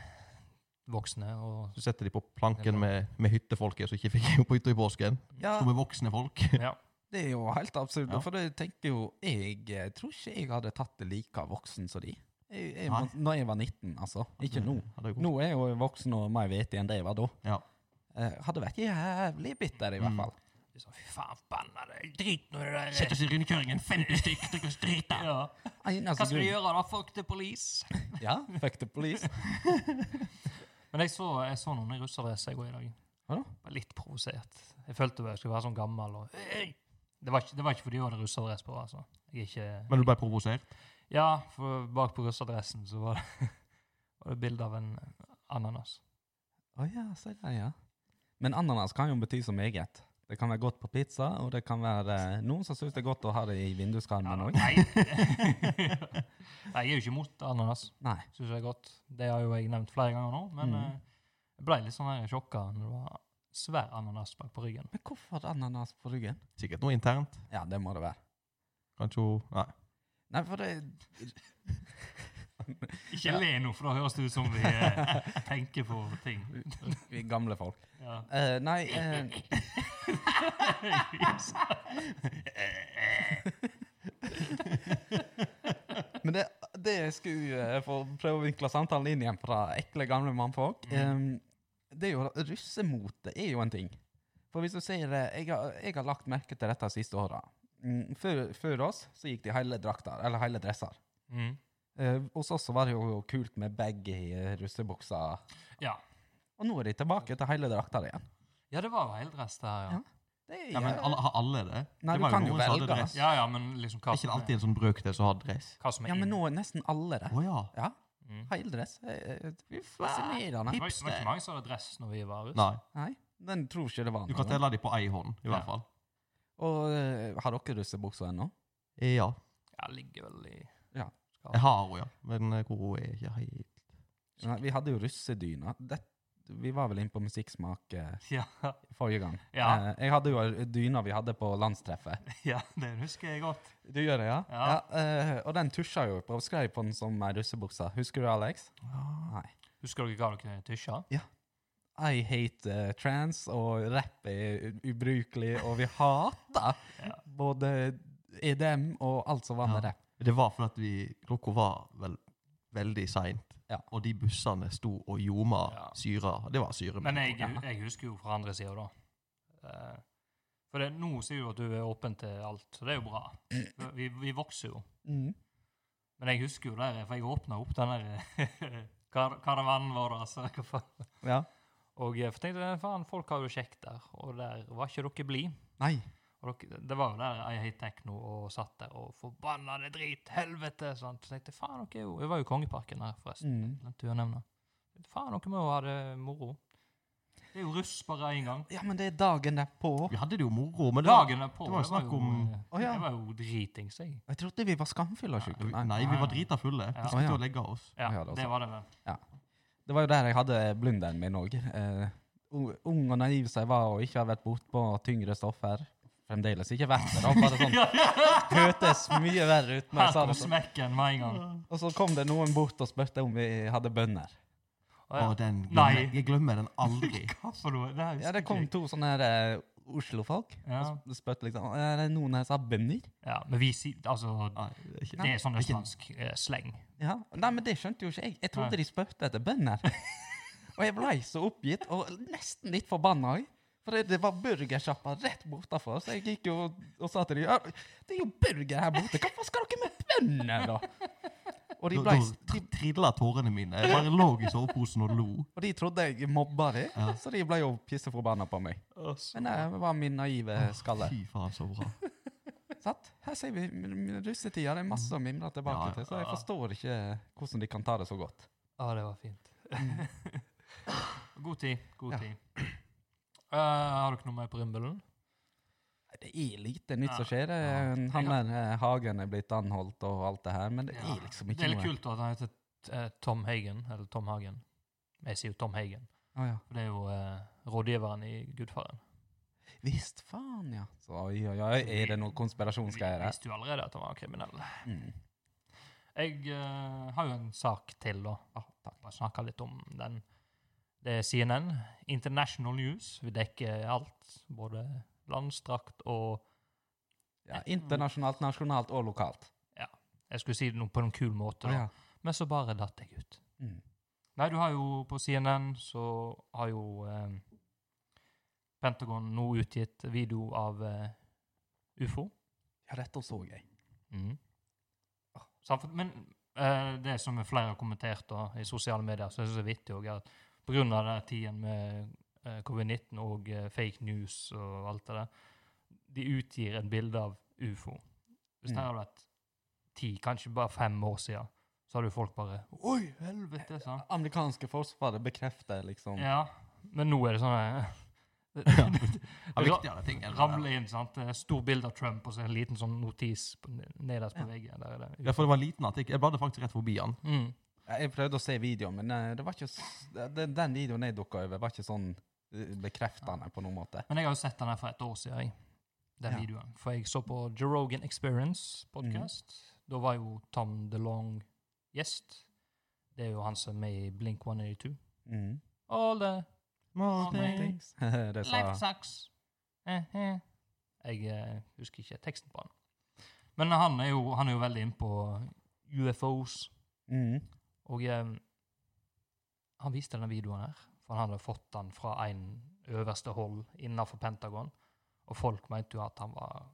[SPEAKER 1] voksne og
[SPEAKER 3] Så setter de på planken med, med hyttefolket som ikke fikk jo på hytta i påsken.
[SPEAKER 2] Ja,
[SPEAKER 3] Som er voksne folk.
[SPEAKER 1] Ja.
[SPEAKER 2] det er jo helt absurd.
[SPEAKER 3] Ja.
[SPEAKER 2] For jeg tenkte jo Jeg eh, tror ikke jeg hadde tatt det like voksen som de. Jeg, jeg,
[SPEAKER 3] Nei. Mm.
[SPEAKER 2] var- når jeg var 19, altså. Ikke nå.
[SPEAKER 3] Ja, det er godt.
[SPEAKER 2] Nå er jeg jo voksen og mer vet enn det jeg var da.
[SPEAKER 3] Ja.
[SPEAKER 2] Eh, hadde vært jævlig bitter, i hvert
[SPEAKER 3] Mm.
[SPEAKER 2] fall.
[SPEAKER 1] de sa, Fy faen, forbanna deg! Drit nå i det der!
[SPEAKER 4] Sett oss i rundkjøringen, 50 stykk, dere skal drite.
[SPEAKER 1] Ja.
[SPEAKER 2] Eneste
[SPEAKER 3] Altså,
[SPEAKER 1] Hva skal du
[SPEAKER 2] grunn-
[SPEAKER 1] gjøre, da? Fuck the police?
[SPEAKER 2] Ja, fuck the police.
[SPEAKER 1] Men jeg så, jeg så noen i russerdress jeg går i dag.
[SPEAKER 2] Hva da?
[SPEAKER 1] Jeg var litt provosert. Jeg følte jeg skulle være sånn gammel og «Hei!» det var, ikke, det var ikke fordi jeg hadde russerdress på. altså. Jeg er ikke...
[SPEAKER 3] Men du ble provosert?
[SPEAKER 1] Ja, for bak på russerdressen så var det, var det bilde av en ananas.
[SPEAKER 2] Å ja, se der, ja. Men ananas kan jo bety så meget. Det kan være godt på pizza, og det kan være eh, noen som syns det er godt å ha det i
[SPEAKER 1] Ja,
[SPEAKER 2] vinduskarmen
[SPEAKER 1] da-
[SPEAKER 2] òg.
[SPEAKER 1] nei. nei, jeg er jo ikke imot ananas.
[SPEAKER 2] Nei.
[SPEAKER 1] Syns jeg er godt. Det har jo jeg nevnt flere ganger nå, men
[SPEAKER 2] Mhm.
[SPEAKER 1] eh, jeg ble litt sånn her sjokka når det var svær ananas bak på ryggen.
[SPEAKER 2] Men hvorfor ananas på ryggen?
[SPEAKER 3] Sikkert noe internt.
[SPEAKER 2] Ja, det må det være.
[SPEAKER 3] Kanskje hun Nei.
[SPEAKER 2] Nei, for det
[SPEAKER 1] Ikke
[SPEAKER 2] Ja.
[SPEAKER 1] le nå, for da høres det ut som vi eh, tenker på ting.
[SPEAKER 2] Vi er gamle folk.
[SPEAKER 1] Ja.
[SPEAKER 2] Eh, nei eh, Men det, det jeg skulle eh, få prøve å vinkle samtalen inn igjen fra ekle, gamle mannfolk eh, Det er jo Russemote er jo en ting. For hvis du ser eh, Jeg har, jeg har lagt merke til dette de siste åra. Mm, før, før oss så gikk de hele drakter, eller hele dresser.
[SPEAKER 1] Mm.
[SPEAKER 2] Eh, hos oss så var det jo kult med baggy eh, russebukser.
[SPEAKER 1] ja.
[SPEAKER 2] Og nå er de tilbake til hele drakter igjen.
[SPEAKER 1] Ja, det var jo heldress der, ja.
[SPEAKER 2] Ja. Det er
[SPEAKER 3] Ja, men alle, har alle det?
[SPEAKER 2] Nei,
[SPEAKER 3] det
[SPEAKER 2] du
[SPEAKER 3] var
[SPEAKER 2] kan jo
[SPEAKER 3] noen som hadde
[SPEAKER 2] velge.
[SPEAKER 3] dress.
[SPEAKER 1] Ja, ja, men liksom hva
[SPEAKER 3] Er ikke
[SPEAKER 1] som
[SPEAKER 3] det alltid en sånn brøkdel som har dress?
[SPEAKER 1] hva som er
[SPEAKER 2] ja, men
[SPEAKER 1] inn.
[SPEAKER 2] nå er nesten alle det.
[SPEAKER 3] Å ja.
[SPEAKER 2] Ja,
[SPEAKER 1] Mm.
[SPEAKER 2] heildress. Eh, eh, Fy fascinerende.
[SPEAKER 1] Det var det var ikke mange som hadde dress når vi var russ.
[SPEAKER 3] Nei.
[SPEAKER 2] Nei, den tror ikke det var
[SPEAKER 3] Du kan
[SPEAKER 2] noe.
[SPEAKER 3] telle dem på ei hånd, i
[SPEAKER 1] Ja.
[SPEAKER 3] hvert fall.
[SPEAKER 2] Og eh, har dere russebukser ennå?
[SPEAKER 3] Ja.
[SPEAKER 1] Ja, ligger vel i
[SPEAKER 3] Jeg har henne, ja. Men eh, hvor hun er ikke helt
[SPEAKER 2] Nei, vi hadde jo russedyna. Det, vi var vel inne på musikksmak eh,
[SPEAKER 1] Ja,
[SPEAKER 2] forrige gang.
[SPEAKER 1] Ja.
[SPEAKER 2] Eh, jeg hadde jo ei dyna vi hadde på landstreffet.
[SPEAKER 1] ja det husker jeg godt.
[SPEAKER 2] Du gjør det, ja?
[SPEAKER 1] Ja.
[SPEAKER 2] eh, og den tusja jo på. Skrev på den som ei russebukse. Husker du, Alex? Nei.
[SPEAKER 1] Husker dere hva dere tysja?
[SPEAKER 2] I hate eh, trans, og rapp er u- ubrukelig, og vi hater både EDM og alt som var med
[SPEAKER 3] Ja.
[SPEAKER 2] rapp.
[SPEAKER 3] Det var fordi at vi Klokka var vel veldig seint,
[SPEAKER 2] Ja.
[SPEAKER 3] og de bussene sto og ljoma
[SPEAKER 1] Ja.
[SPEAKER 3] syra. Det var syre.
[SPEAKER 1] Men jeg, jeg husker jo fra andre sida, da. Eh, For det, nå sier du at du er åpen til alt, så det er jo bra. Vi, vi vokser jo.
[SPEAKER 2] Mm.
[SPEAKER 1] Men jeg husker jo der, for jeg åpna opp den der kar karavanen vår. Altså, hva faen.
[SPEAKER 2] Ja.
[SPEAKER 1] og jeg tenkte faen, folk har jo kjekt der, og der var ikke dere blid.
[SPEAKER 2] Nei.
[SPEAKER 1] Og dere, det var jo der I Hate Techno og satt der og forbanna det drit, helvete! Sant? Så tenkte jeg faen, dere er jo Jeg var jo i Kongeparken her, forresten.
[SPEAKER 2] Mm.
[SPEAKER 1] Glemte jeg å nevne. Faen, dere må jo ha det moro. Det er jo russ bare én gang.
[SPEAKER 2] Ja, men det er dagen derpå.
[SPEAKER 3] Vi hadde det jo moro, men det var-
[SPEAKER 1] Dagen derpå.
[SPEAKER 3] det var jo snakk om-
[SPEAKER 1] eh,
[SPEAKER 2] Å, ja.
[SPEAKER 1] Det var jo dritings, jeg.
[SPEAKER 2] Jeg trodde vi var skamfulle og sjuke.
[SPEAKER 3] Nei, vi var drita fulle.
[SPEAKER 1] Ja.
[SPEAKER 3] Vi
[SPEAKER 2] Å,
[SPEAKER 3] skulle
[SPEAKER 2] ja.
[SPEAKER 3] til å legge oss.
[SPEAKER 1] Ja,
[SPEAKER 2] Ja, det var
[SPEAKER 1] det
[SPEAKER 2] sant.
[SPEAKER 1] var det vel.
[SPEAKER 2] Det var jo der jeg hadde blunderen min òg. Eh, u- ung og naiv som jeg var, og ikke har vært bortpå tyngre stoffer. Fremdeles ikke vært det. da, Bare sånn hørtes mye verre ut. når
[SPEAKER 1] Her
[SPEAKER 2] jeg sa
[SPEAKER 1] kom
[SPEAKER 2] det. sånn.
[SPEAKER 1] smekken med en gang.
[SPEAKER 2] Og så kom det noen bort og spurte om vi hadde bønner.
[SPEAKER 1] Å, ja.
[SPEAKER 3] Å, den glemmer,
[SPEAKER 1] Nei.
[SPEAKER 3] jeg glemmer den aldri.
[SPEAKER 1] Hva for noe? Det her
[SPEAKER 2] Ja, det
[SPEAKER 1] husker
[SPEAKER 2] kom
[SPEAKER 1] jeg ikke.
[SPEAKER 2] to sånne her, eh, Oslo-folk.
[SPEAKER 1] Ja.
[SPEAKER 2] Og spurte liksom Er det noen her som har bønner.
[SPEAKER 1] Altså, ja, men vi sier Altså,
[SPEAKER 3] Nei, det er ikke.
[SPEAKER 1] det er sånn østlandsk eh, sleng.
[SPEAKER 2] Ja. Nei, men det skjønte jo ikke jeg. Jeg trodde
[SPEAKER 1] Nei.
[SPEAKER 2] de spurte etter bønner. og jeg blei så oppgitt, og nesten litt forbanna òg. For det- det var burgersjappa rett bortafor, så jeg gikk jo og sa til dem «Ja, Det er jo burger her borte, hvorfor skal dere med bønner, da? Og de,
[SPEAKER 3] Da,
[SPEAKER 2] blei,
[SPEAKER 3] da
[SPEAKER 2] s-
[SPEAKER 3] tr- trilla tårene mine. Jeg bare lå i soveposen og lo.
[SPEAKER 2] og de trodde jeg mobba dem, så de blei jo pisseforbanna på meg. Men eh, det var min naive skalle.
[SPEAKER 3] Fy faen, så bra.
[SPEAKER 2] Sant? Her ser vi m- m- russetida, det er masse å mimre tilbake
[SPEAKER 3] Ja, ja,
[SPEAKER 2] til, så jeg
[SPEAKER 1] ja.
[SPEAKER 2] forstår ikke hvordan de kan ta det så godt.
[SPEAKER 1] Ja, det var fint. Mm. god tid. God
[SPEAKER 2] Ja.
[SPEAKER 1] tid. Eh, har dere noe mer på Rimbelen?
[SPEAKER 2] Det er lite nytt
[SPEAKER 1] Ja.
[SPEAKER 2] som skjer.
[SPEAKER 3] Ja.
[SPEAKER 2] Eh, Han der eh, Hagen er blitt anholdt og alt det her, men det
[SPEAKER 1] Ja.
[SPEAKER 2] er liksom
[SPEAKER 1] Det
[SPEAKER 2] ikke
[SPEAKER 1] er litt
[SPEAKER 2] noe
[SPEAKER 1] kult at han heter eh, Tom Hagen. Eller Tom Hagen. Jeg sier jo Tom Hagen.
[SPEAKER 2] Å ja.
[SPEAKER 1] For det er jo eh, rådgiveren i Gudfaren.
[SPEAKER 2] Visst faen, ja. Så oi, oi, oi, er det noen
[SPEAKER 1] Vi
[SPEAKER 2] konspirasjonsgreier her?
[SPEAKER 1] visste jo allerede at han var kriminell.
[SPEAKER 2] Mm.
[SPEAKER 1] Jeg eh, har jo en sak til, da. Bare snakke litt om den. Det er CNN, International News. Vi dekker alt, både landstrakt og
[SPEAKER 2] Ja, internasjonalt, nasjonalt og lokalt.
[SPEAKER 1] Jeg skulle si det nå på en kul måte, da.
[SPEAKER 2] Ja.
[SPEAKER 1] men så bare datt jeg ut.
[SPEAKER 2] Mm.
[SPEAKER 1] Nei, du har jo på CNN så har jo eh, Pentagon nå utgitt video av eh, ufo.
[SPEAKER 2] ja, dette så jeg.
[SPEAKER 3] Mm.
[SPEAKER 1] Samfund- Men eh, det som flere har kommentert da, i sosiale medier, så jeg synes det er vittig også, er at på grunn av den tiden med eh, covid-19 og eh, fake news og alt det der, de utgir et bilde av ufo. Hvis det
[SPEAKER 2] Mm.
[SPEAKER 1] hadde vært ti, kanskje bare fem år siden, så hadde jo folk bare Oi, helvete! sant?
[SPEAKER 2] Amerikanske forsvaret bekrefter liksom
[SPEAKER 1] Ja, men nå er det sånn eh,
[SPEAKER 3] Ja, viktigere ting enn det der.
[SPEAKER 1] Ramle inn, sant? Eh, Stor bilde av Trump og så en liten sånn notis på, nederst på veggen. Der er det.
[SPEAKER 3] Ja, for det var en liten artikkel. Jeg bladde faktisk rett forbi den.
[SPEAKER 1] Mm.
[SPEAKER 2] Jeg prøvde å se videoen, men eh, det var ikke s- den, den videoen jeg dukka over, var ikke sånn eh, bekreftende på noen måte.
[SPEAKER 1] Men jeg har jo sett den her for et år siden, jeg. den
[SPEAKER 2] Ja.
[SPEAKER 1] videoen. For jeg så på Jerogan Experience podcast.
[SPEAKER 2] Mm.
[SPEAKER 1] Da var jo Tom DeLong gjest. Det er jo han som er med i Blink 182.
[SPEAKER 2] Mm.
[SPEAKER 1] All the
[SPEAKER 3] Morning.
[SPEAKER 2] det sa
[SPEAKER 1] life sucks. Eh, eh. Jeg eh, husker ikke teksten på han. Men han er jo, han er jo veldig inne på UFOs.
[SPEAKER 2] mm.
[SPEAKER 1] Og eh, han viste denne videoen her, for han hadde fått den fra en øverste hold innenfor Pentagon, og folk mente jo at han var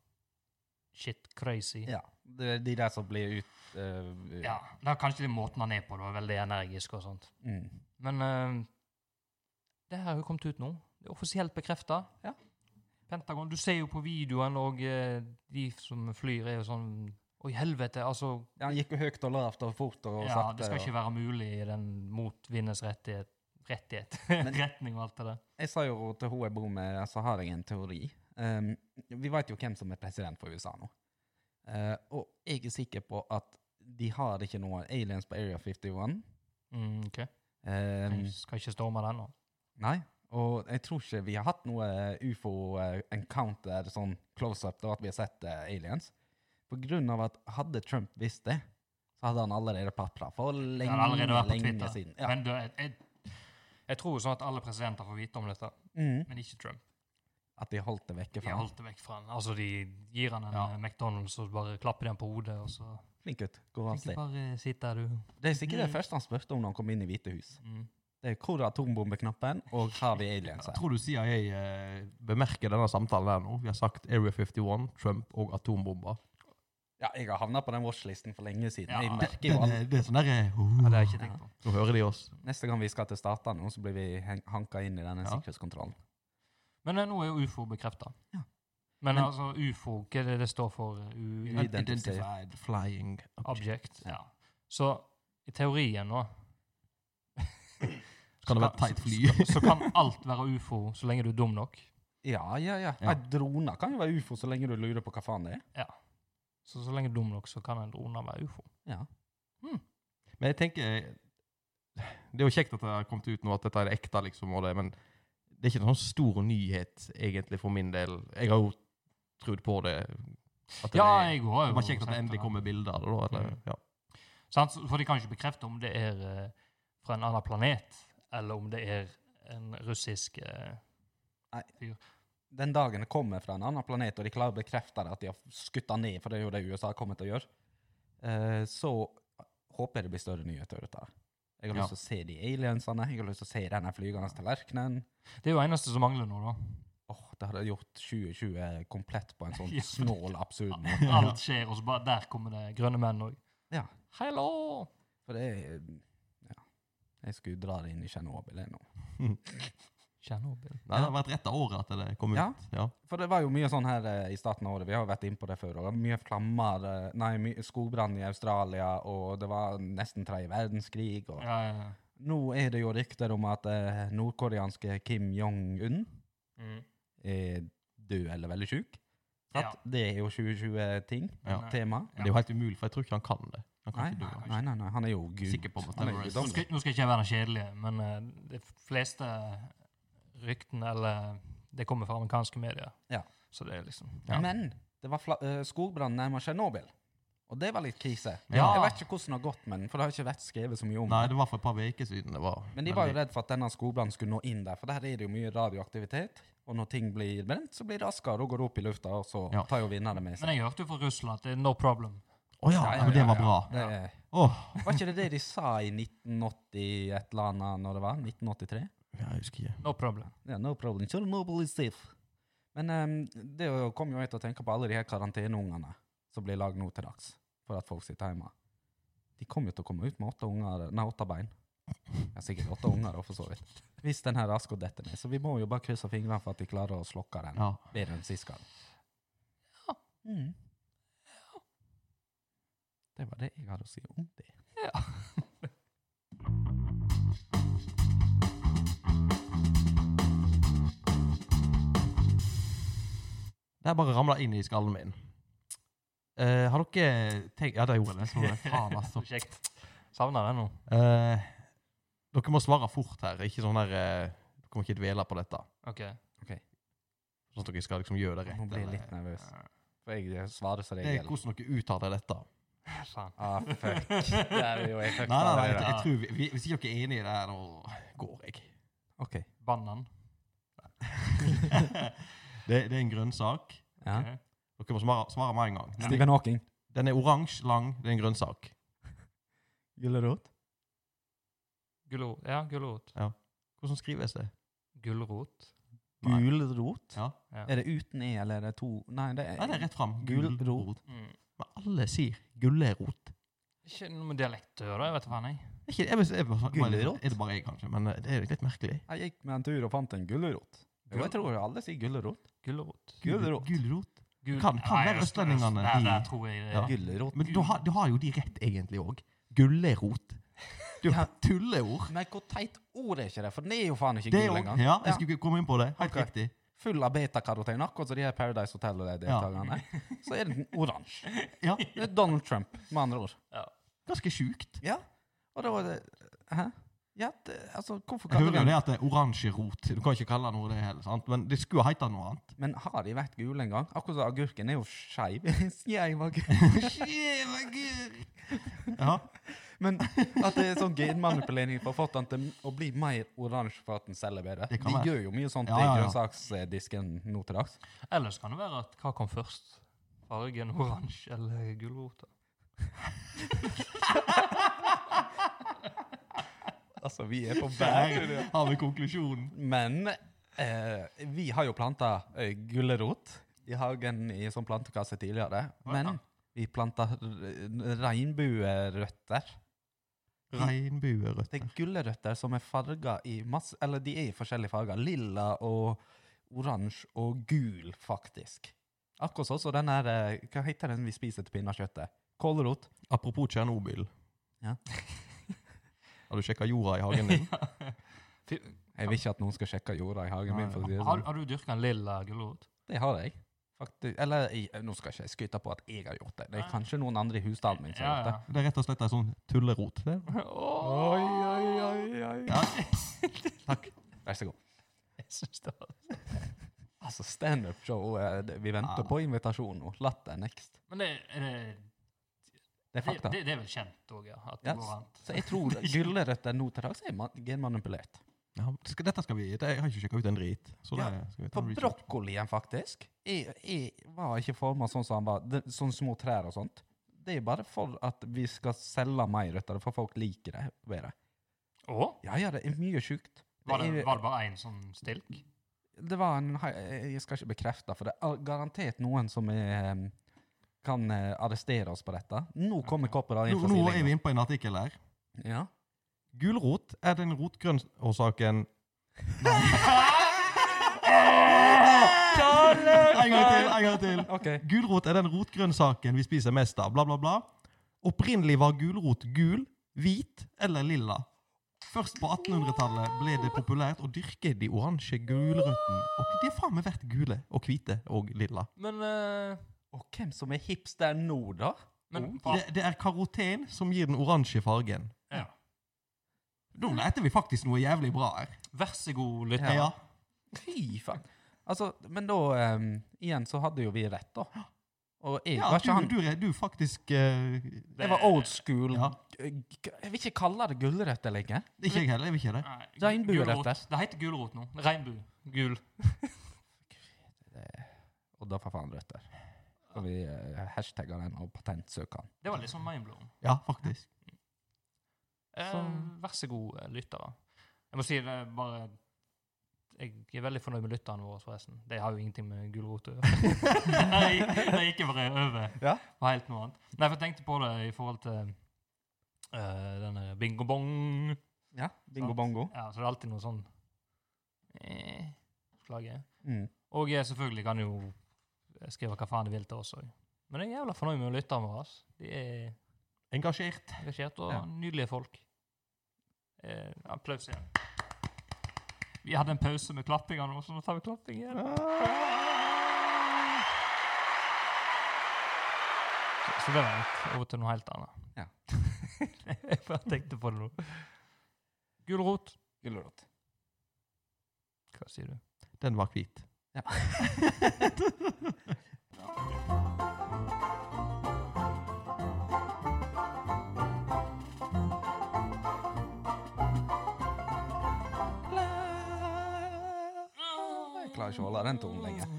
[SPEAKER 1] shit crazy.
[SPEAKER 2] Ja. Det er de der som blir ut... eh,
[SPEAKER 1] Ja, det er kanskje den måten han er på, da, veldig energisk og sånt.
[SPEAKER 2] Mm.
[SPEAKER 1] Men eh, det her har jo kommet ut nå. Det er offisielt bekrefta.
[SPEAKER 2] Ja.
[SPEAKER 1] Pentagon, du ser jo på videoen, og eh, de som flyr, er jo sånn Oi, helvete, altså
[SPEAKER 2] Ja, han gikk jo høyt og lavt og fort og
[SPEAKER 1] Ja,
[SPEAKER 2] sakte.
[SPEAKER 1] det skal ikke
[SPEAKER 2] og...
[SPEAKER 1] være mulig i den motvindens rettighet, rettighet, retning og alt det der.
[SPEAKER 2] Jeg sa jo til hun jeg bor med, så har jeg en teori. Um, vi vet jo hvem som er president for USA nå. Eh, og jeg er sikker på at de har ikke noen aliens på Area 51.
[SPEAKER 1] Mm, ok.
[SPEAKER 2] Um,
[SPEAKER 1] Jeg skal ikke storme den nå.
[SPEAKER 2] nei. Og jeg tror ikke vi har hatt noe eh, ufo-encounter, sånn close-up, da at vi har sett eh, aliens. På grunn av at hadde Trump visst det, så hadde han allerede papra for
[SPEAKER 1] Den
[SPEAKER 2] lenge,
[SPEAKER 1] har allerede vært på
[SPEAKER 2] lenge
[SPEAKER 1] Twitter.
[SPEAKER 2] siden. Ja.
[SPEAKER 1] Men du, jeg, jeg, jeg tror jo sånn at alle presidenter får vite om dette,
[SPEAKER 2] Mm,
[SPEAKER 1] men ikke Trump.
[SPEAKER 2] at de holdt det vekke
[SPEAKER 1] De
[SPEAKER 2] fra
[SPEAKER 1] har
[SPEAKER 2] ham.
[SPEAKER 1] holdt det vekk fra han. Altså, de gir han en
[SPEAKER 3] Ja.
[SPEAKER 1] eh, McDonald's og bare klapper den på hodet, og så
[SPEAKER 2] Flink gutt. Går av
[SPEAKER 1] Ikke
[SPEAKER 2] sted.
[SPEAKER 1] bare sitt der, du.
[SPEAKER 2] Det er sikkert det første han spurte om når han kom inn i Hvite hus.
[SPEAKER 1] Mm.
[SPEAKER 2] Det er hvor er atombombeknappen, og har vi aliens
[SPEAKER 3] Jeg
[SPEAKER 2] her?
[SPEAKER 3] tror du sier jeg eh, bemerker denne samtalen her nå. Vi har sagt Area 51, Trump og atombomber.
[SPEAKER 2] Ja, jeg har havna på den watchlisten for lenge siden.
[SPEAKER 1] Ja,
[SPEAKER 2] jeg merker jo
[SPEAKER 3] Den
[SPEAKER 2] alt.
[SPEAKER 3] er- Det er sånn uh. derre
[SPEAKER 1] Ja, det har jeg ikke tenkt på.
[SPEAKER 3] Nå hører de oss.
[SPEAKER 2] Neste gang vi skal til statene, så blir vi hen- hanka inn i denne
[SPEAKER 3] Ja.
[SPEAKER 2] sikkerhetskontrollen.
[SPEAKER 1] Men eh, nå er jo ufo bekrefta.
[SPEAKER 2] Ja.
[SPEAKER 1] Men,
[SPEAKER 2] Men-
[SPEAKER 1] altså, ufo, hva er det det står for? U
[SPEAKER 3] Unidentified flying
[SPEAKER 1] object. Ja. Så i teorien nå
[SPEAKER 3] Kan det være et
[SPEAKER 1] så-
[SPEAKER 3] teit fly?
[SPEAKER 1] så, så kan alt være ufo så lenge du er dum nok.
[SPEAKER 2] Ja, ja, ja.
[SPEAKER 3] Ja.
[SPEAKER 2] ja. Droner kan jo være ufo så lenge du lurer på hva faen det er.
[SPEAKER 1] Så så lenge du er dum nok, så kan en drone være ufo.
[SPEAKER 2] Ja.
[SPEAKER 3] Men jeg tenker Det er jo kjekt at det har kommet ut nå, at dette er det ekte, liksom, og det, men det er ikke noen sånn stor nyhet, egentlig, for min del. Jeg har jo trodd på det. At det,
[SPEAKER 1] Ja,
[SPEAKER 3] er-
[SPEAKER 1] jeg òg.
[SPEAKER 3] det var kjekt at det endelig kommer bilder av det, da. Eller,
[SPEAKER 1] Mm.
[SPEAKER 3] ja.
[SPEAKER 1] Sant? Så- For de kan ikke bekrefte om det er eh, fra en annen planet, eller om det er en russisk eh,
[SPEAKER 2] Den dagen det kommer fra en annen planet, og de klarer å bekrefte det at de har skutt den ned, for det er jo det USA kommer til å gjøre, eh, så håper jeg det blir større nyheter ut av det. Jeg har
[SPEAKER 3] Ja.
[SPEAKER 2] lyst til å se de aliensene, jeg har lyst til å se denne flygende tallerkenen.
[SPEAKER 1] Det er jo eneste som mangler nå, da.
[SPEAKER 2] Åh, det hadde jeg gjort 2020 komplett på en sånn
[SPEAKER 1] Ja.
[SPEAKER 2] snål absurd måte.
[SPEAKER 1] Alt skjer, og så bare der kommer det grønne menn òg.
[SPEAKER 2] Ja.
[SPEAKER 1] Hallo!
[SPEAKER 2] For det er Ja. Jeg skulle dra det inn i Tsjernobyl jeg, nå.
[SPEAKER 1] Tsjernobyl.
[SPEAKER 3] Nei, det har vært rett av året at det kom ut.
[SPEAKER 2] Ja.
[SPEAKER 3] Ja.
[SPEAKER 2] For det var jo mye sånn her eh, i starten av året, vi har jo vært inn på det før, og det var mye flammer eh, Nei, my skogbrann i Australia, og det var nesten tredje verdenskrig, og
[SPEAKER 1] Ja, ja, ja.
[SPEAKER 2] Nå er det jo rykter om at eh, nordkoreanske Kim Jong-un
[SPEAKER 1] Mm.
[SPEAKER 2] er død eller veldig sjuk.
[SPEAKER 1] Ja. eh,
[SPEAKER 2] Det er jo 2020-ting.
[SPEAKER 3] Ja.
[SPEAKER 2] Tema.
[SPEAKER 3] Men det er jo helt umulig, for jeg tror ikke han kan det. Han kan
[SPEAKER 2] Nei,
[SPEAKER 3] ikke dø.
[SPEAKER 2] nei, nei, nei, han er jo gud.
[SPEAKER 3] Sikker på at
[SPEAKER 2] Han er
[SPEAKER 1] Nå
[SPEAKER 3] Everest-
[SPEAKER 2] guddommelig.
[SPEAKER 1] skal, nå skal ikke jeg være den kjedelige, men eh, de fleste ryktene eller Det kommer fra amerikanske medier.
[SPEAKER 2] Ja.
[SPEAKER 1] Så det er liksom
[SPEAKER 3] Ja.
[SPEAKER 2] Men det var fla eh, skogbrann nærmere Tsjernobyl. Og det var litt krise.
[SPEAKER 1] Ja.
[SPEAKER 2] Jeg vet ikke hvordan det har gått med den, for det har ikke vært skrevet så mye om.
[SPEAKER 3] Nei, det var for et par uker siden. det var.
[SPEAKER 2] Men de var jo redd for at denne skogbrannen skulle nå inn der, for der er det jo mye radioaktivitet. Og når ting blir brent, så blir det askere og går opp i lufta, og så
[SPEAKER 3] Ja.
[SPEAKER 2] tar jo vinnerne med seg.
[SPEAKER 1] Men jeg hørte jo fra Russland at det er no problem.
[SPEAKER 3] Å ja,
[SPEAKER 2] Ja, ja,
[SPEAKER 3] ja, men det
[SPEAKER 2] ja,
[SPEAKER 3] var
[SPEAKER 2] ja.
[SPEAKER 3] bra.
[SPEAKER 2] Det er,
[SPEAKER 3] Åh,
[SPEAKER 2] var ikke det det de sa i 1980 et eller annet når det var? 1983?
[SPEAKER 3] ja, jeg husker ikke.
[SPEAKER 1] No problem.
[SPEAKER 2] Ja, no problem. Chernobyl is safe. Men ehm, det jo- kom jo jeg til å tenke på alle de her karanteneungene som blir lagd nå til dags, for at folk sitter hjemme. De kommer jo til å komme ut med åtte, unger, nei, åtte bein. Ja, sikkert åtte unger, da, for så vidt. Hvis den her rasko detter ned. Så vi må jo bare krysse fingrene for at de klarer å slokke den
[SPEAKER 3] Ja.
[SPEAKER 2] bedre enn sist gang.
[SPEAKER 1] Ja.
[SPEAKER 2] Mm. Det var det jeg hadde å si om det.
[SPEAKER 3] Det her bare ramla inn i skallen min. Eh, har dere tenkt Ja, det gjorde det. Så var det faen, altså.
[SPEAKER 1] Kjekt. Savner det nå.
[SPEAKER 3] Eh, dere må svare fort her. Ikke sånn der eh, Dere må ikke dvele på dette.
[SPEAKER 1] Ok.
[SPEAKER 3] Sånn at dere skal liksom gjøre det rett.
[SPEAKER 2] Nå blir jeg
[SPEAKER 3] eller-
[SPEAKER 2] litt nervøs, for jeg eh, svarer som
[SPEAKER 3] det er
[SPEAKER 1] Eh,
[SPEAKER 2] regel.
[SPEAKER 3] hvordan dere uttaler dette.
[SPEAKER 1] Faen.
[SPEAKER 2] Ah, fuck. Det er jo jeg fucka
[SPEAKER 3] Nei, nei, nei,
[SPEAKER 2] allerede.
[SPEAKER 3] jeg, jeg tror vi, vi, Hvis ikke dere er enig i det her, da går jeg.
[SPEAKER 2] Ok.
[SPEAKER 1] Banan.
[SPEAKER 3] det, det er en grønnsak.
[SPEAKER 2] Ja.
[SPEAKER 1] Ok.
[SPEAKER 3] Dere må svare, svare med en gang. Den er,
[SPEAKER 2] Stephen Hawking.
[SPEAKER 3] den er oransje, lang, det er en grønnsak.
[SPEAKER 2] Gulrot.
[SPEAKER 1] Gulo- Ja, gulrot.
[SPEAKER 3] Hvordan skrives det?
[SPEAKER 1] Gulrot.
[SPEAKER 3] Nei.
[SPEAKER 2] Gulrot?
[SPEAKER 3] Ja.
[SPEAKER 1] Ja.
[SPEAKER 2] Er det uten E, eller er det to Nei, det er,
[SPEAKER 3] Nei, det er rett fram.
[SPEAKER 2] Gulrot.
[SPEAKER 1] Mm.
[SPEAKER 3] Men alle sier gulrot.
[SPEAKER 1] Ikke noe med dialekt å gjøre, jeg vet da faen, jeg.
[SPEAKER 3] Er ikke- jeg vil- jeg vil bare-
[SPEAKER 2] Gulrot?
[SPEAKER 3] Er det bare jeg, kanskje? Men eh, det er jo litt merkelig.
[SPEAKER 2] Jeg gikk med en tur og fant en gulrot. Jo, jeg tror alle sier gulrot.
[SPEAKER 1] Gulrot.
[SPEAKER 2] Gulrot.
[SPEAKER 3] Gulrot.
[SPEAKER 1] Gul-
[SPEAKER 3] Kan- kan
[SPEAKER 1] Nei,
[SPEAKER 3] være
[SPEAKER 1] øst-
[SPEAKER 3] østlendingene,
[SPEAKER 1] øst-
[SPEAKER 3] de-
[SPEAKER 1] Der, der tror jeg det.
[SPEAKER 3] Ja.
[SPEAKER 2] Gulrot.
[SPEAKER 3] Men du har, du har jo de rett egentlig òg. Gulrot. Du har tulleord.
[SPEAKER 2] Men hvor teit ord er ikke det? For det er jo faen ikke
[SPEAKER 3] Det
[SPEAKER 2] gull
[SPEAKER 3] òg.
[SPEAKER 2] engang.
[SPEAKER 3] Ja, jeg skulle komme inn på det. Helt
[SPEAKER 2] Ok.
[SPEAKER 3] riktig.
[SPEAKER 2] Full av betakaroten, akkurat som de her Paradise Hotel-deltakerne. Så er den oransje.
[SPEAKER 3] Ja,
[SPEAKER 2] Det er Donald Trump, med andre ord.
[SPEAKER 3] Ganske sjukt.
[SPEAKER 2] Ja. Og da var det Hæ? Ja, det, altså, hvorfor
[SPEAKER 3] Jeg
[SPEAKER 2] kaller
[SPEAKER 3] hører jo
[SPEAKER 2] den
[SPEAKER 3] det at det er oransje rot. Du kan ikke kalle det noe det heller, sant? men det skulle hete noe annet.
[SPEAKER 2] Men har de vært gule en gang? Akkurat som agurken er jo skeiv. Skeiv agurk.
[SPEAKER 3] Ja.
[SPEAKER 2] Men at det er sånn genmanipulering for å fått den til å bli mer oransje for at den selger bedre.
[SPEAKER 3] Det
[SPEAKER 2] De
[SPEAKER 3] kan være.
[SPEAKER 2] gjør jo mye sånt
[SPEAKER 3] Ja, ja,
[SPEAKER 2] i
[SPEAKER 3] ja.
[SPEAKER 2] grønnsaksdisken nå til dags.
[SPEAKER 1] Ellers kan det være at hva kom først? Fargen oransje eller gulrota?
[SPEAKER 2] Altså, vi er på
[SPEAKER 3] Der har vi konklusjonen.
[SPEAKER 2] Men eh, vi har jo planta eh, gulrot i hagen i sånn plantekasse tidligere. Men vi planta r- regnbuerøtter. Det
[SPEAKER 3] Regnbuerøtter.
[SPEAKER 2] er gulrøtter som er farga i masse Eller de er i forskjellige farger. Lilla og oransje og gul, faktisk. Akkurat sånn som den her eh, Hva heter den vi spiser til pinnekjøttet? Kålrot?
[SPEAKER 3] Apropos Tsjernobyl.
[SPEAKER 2] Ja.
[SPEAKER 3] Har du sjekka jorda i hagen din?
[SPEAKER 1] Fi-
[SPEAKER 2] Jeg vil ikke at noen skal sjekke jorda i hagen min. for å si det
[SPEAKER 1] Har,
[SPEAKER 2] sånn.
[SPEAKER 1] har du dyrka en lilla gulrot?
[SPEAKER 2] Det har jeg. Faktisk. Eller jeg, nå skal ikke jeg skryte på at jeg har gjort det. Det er kanskje noen andre i husstanden min som har gjort det.
[SPEAKER 3] Det er rett og slett ei sånn tullerot. Det.
[SPEAKER 1] ja.
[SPEAKER 2] Oi,
[SPEAKER 1] Oi,
[SPEAKER 2] oi, oi, oi.
[SPEAKER 3] Ja. Takk.
[SPEAKER 2] Vær så god.
[SPEAKER 1] jeg syns det var
[SPEAKER 2] Altså, standup-show eh, det- Vi venter
[SPEAKER 3] Ja.
[SPEAKER 2] på invitasjon nå. Latter next.
[SPEAKER 1] Men det, er det,
[SPEAKER 2] Det er
[SPEAKER 1] det,
[SPEAKER 2] fakta.
[SPEAKER 1] det, det er vel kjent òg, ja? At det
[SPEAKER 2] Ja,
[SPEAKER 1] går an.
[SPEAKER 2] Så jeg tror gulrøtter nå til dags er ma- genmanipulert.
[SPEAKER 3] Ja, men det skal- dette skal vi det, Jeg har ikke sjekka ut en drit. Så det
[SPEAKER 2] Ja,
[SPEAKER 3] skal vi ta
[SPEAKER 2] For
[SPEAKER 3] en research.
[SPEAKER 2] brokkolien, faktisk, jeg, jeg var ikke forma sånn som han var. Det- sånne små trær og sånt. Det er bare for at vi skal selge mer av det, for folk liker det bedre.
[SPEAKER 1] Å?
[SPEAKER 2] Ja, ja, det er mye sjukt.
[SPEAKER 1] Var det,
[SPEAKER 2] er-
[SPEAKER 1] var det bare én sånn stilk?
[SPEAKER 2] det var en hei- Jeg skal ikke bekrefte, for det er garantert noen som er, em, kan eh, arrestere oss på dette. Nå kommer
[SPEAKER 1] Ok.
[SPEAKER 2] Kopper inn
[SPEAKER 3] Nå,
[SPEAKER 2] for
[SPEAKER 3] nå er vi
[SPEAKER 2] silinga.
[SPEAKER 3] inne på en artikkel her.
[SPEAKER 2] Ja.
[SPEAKER 3] Gulrot er den rotgrønnsaken En gang til! En gang til.
[SPEAKER 2] OK.
[SPEAKER 3] Gulrot er den rotgrønnsaken vi spiser mest av, bla, bla, bla. Opprinnelig var gulrot gul, hvit eller lilla. Først på 1800-tallet ble det populært å dyrke de oransje gulrøttene. Og de har faen meg vært gule og hvite og lilla.
[SPEAKER 1] Men, eh,
[SPEAKER 2] Og hvem som er hipster nå, da?
[SPEAKER 1] men
[SPEAKER 2] Oh.
[SPEAKER 3] Det, det er karoten som gir den oransje fargen.
[SPEAKER 1] ja.
[SPEAKER 3] Nå leter vi faktisk noe jævlig bra her.
[SPEAKER 1] Vær så god, lytter. Ja.
[SPEAKER 3] Ja.
[SPEAKER 2] ehm, Fy faen. Altså, men da em, Igjen så hadde jo vi rett, da. Og jeg
[SPEAKER 3] Ja,
[SPEAKER 2] var ikke
[SPEAKER 3] du,
[SPEAKER 2] han
[SPEAKER 3] du, er- du er faktisk eh,
[SPEAKER 2] Jeg var old school.
[SPEAKER 3] Ja.
[SPEAKER 2] G- Jeg vil ikke kalle det gulrøtter lenger.
[SPEAKER 3] Ikke jeg heller. Jeg vil ikke det.
[SPEAKER 1] Nei,
[SPEAKER 2] Regnbue,
[SPEAKER 1] gulrot.
[SPEAKER 2] dette.
[SPEAKER 1] Det heter gulrot nå. Regnbue. Gul.
[SPEAKER 2] Og da får faen røtter. Skal vi eh, hashtagge den og patentsøke den?
[SPEAKER 1] Det var litt sånn mindblown.
[SPEAKER 3] Ja, faktisk.
[SPEAKER 1] Eh,
[SPEAKER 2] Så-
[SPEAKER 1] vær så god, eh, lyttere. Jeg må si det er bare Jeg er veldig fornøyd med lytterne våre, forresten. De har jo ingenting med gulrot å gjøre. Nei, De gikk jo bare over
[SPEAKER 2] Ja.
[SPEAKER 1] på helt noe annet. Nei, for jeg tenkte på det i forhold til eh, denne bingo-bong.
[SPEAKER 2] Ja. Bingo
[SPEAKER 1] Sant.
[SPEAKER 2] bongo.
[SPEAKER 1] Ja, så det er alltid noe sånn eh, Klager.
[SPEAKER 2] Mm.
[SPEAKER 1] Og jeg selvfølgelig kan jo skrive hva faen de vil til oss òg. Men jeg er jævla fornøyd med lytterne våre. ass. De er
[SPEAKER 3] Engasjert.
[SPEAKER 1] engasjert og
[SPEAKER 2] Ja.
[SPEAKER 1] nydelige folk. Eh, applaus igjen. Vi hadde en pause med klappinga nå, så nå tar vi klapping igjen. Så, så det var litt over til noe helt annet.
[SPEAKER 2] Ja.
[SPEAKER 1] jeg bare tenkte på det nå. Gulrot.
[SPEAKER 2] Gulrot.
[SPEAKER 1] Hva sier du?
[SPEAKER 3] Den var hvit.
[SPEAKER 2] Ja. Jeg klarer ikke å holde den tonen lenger.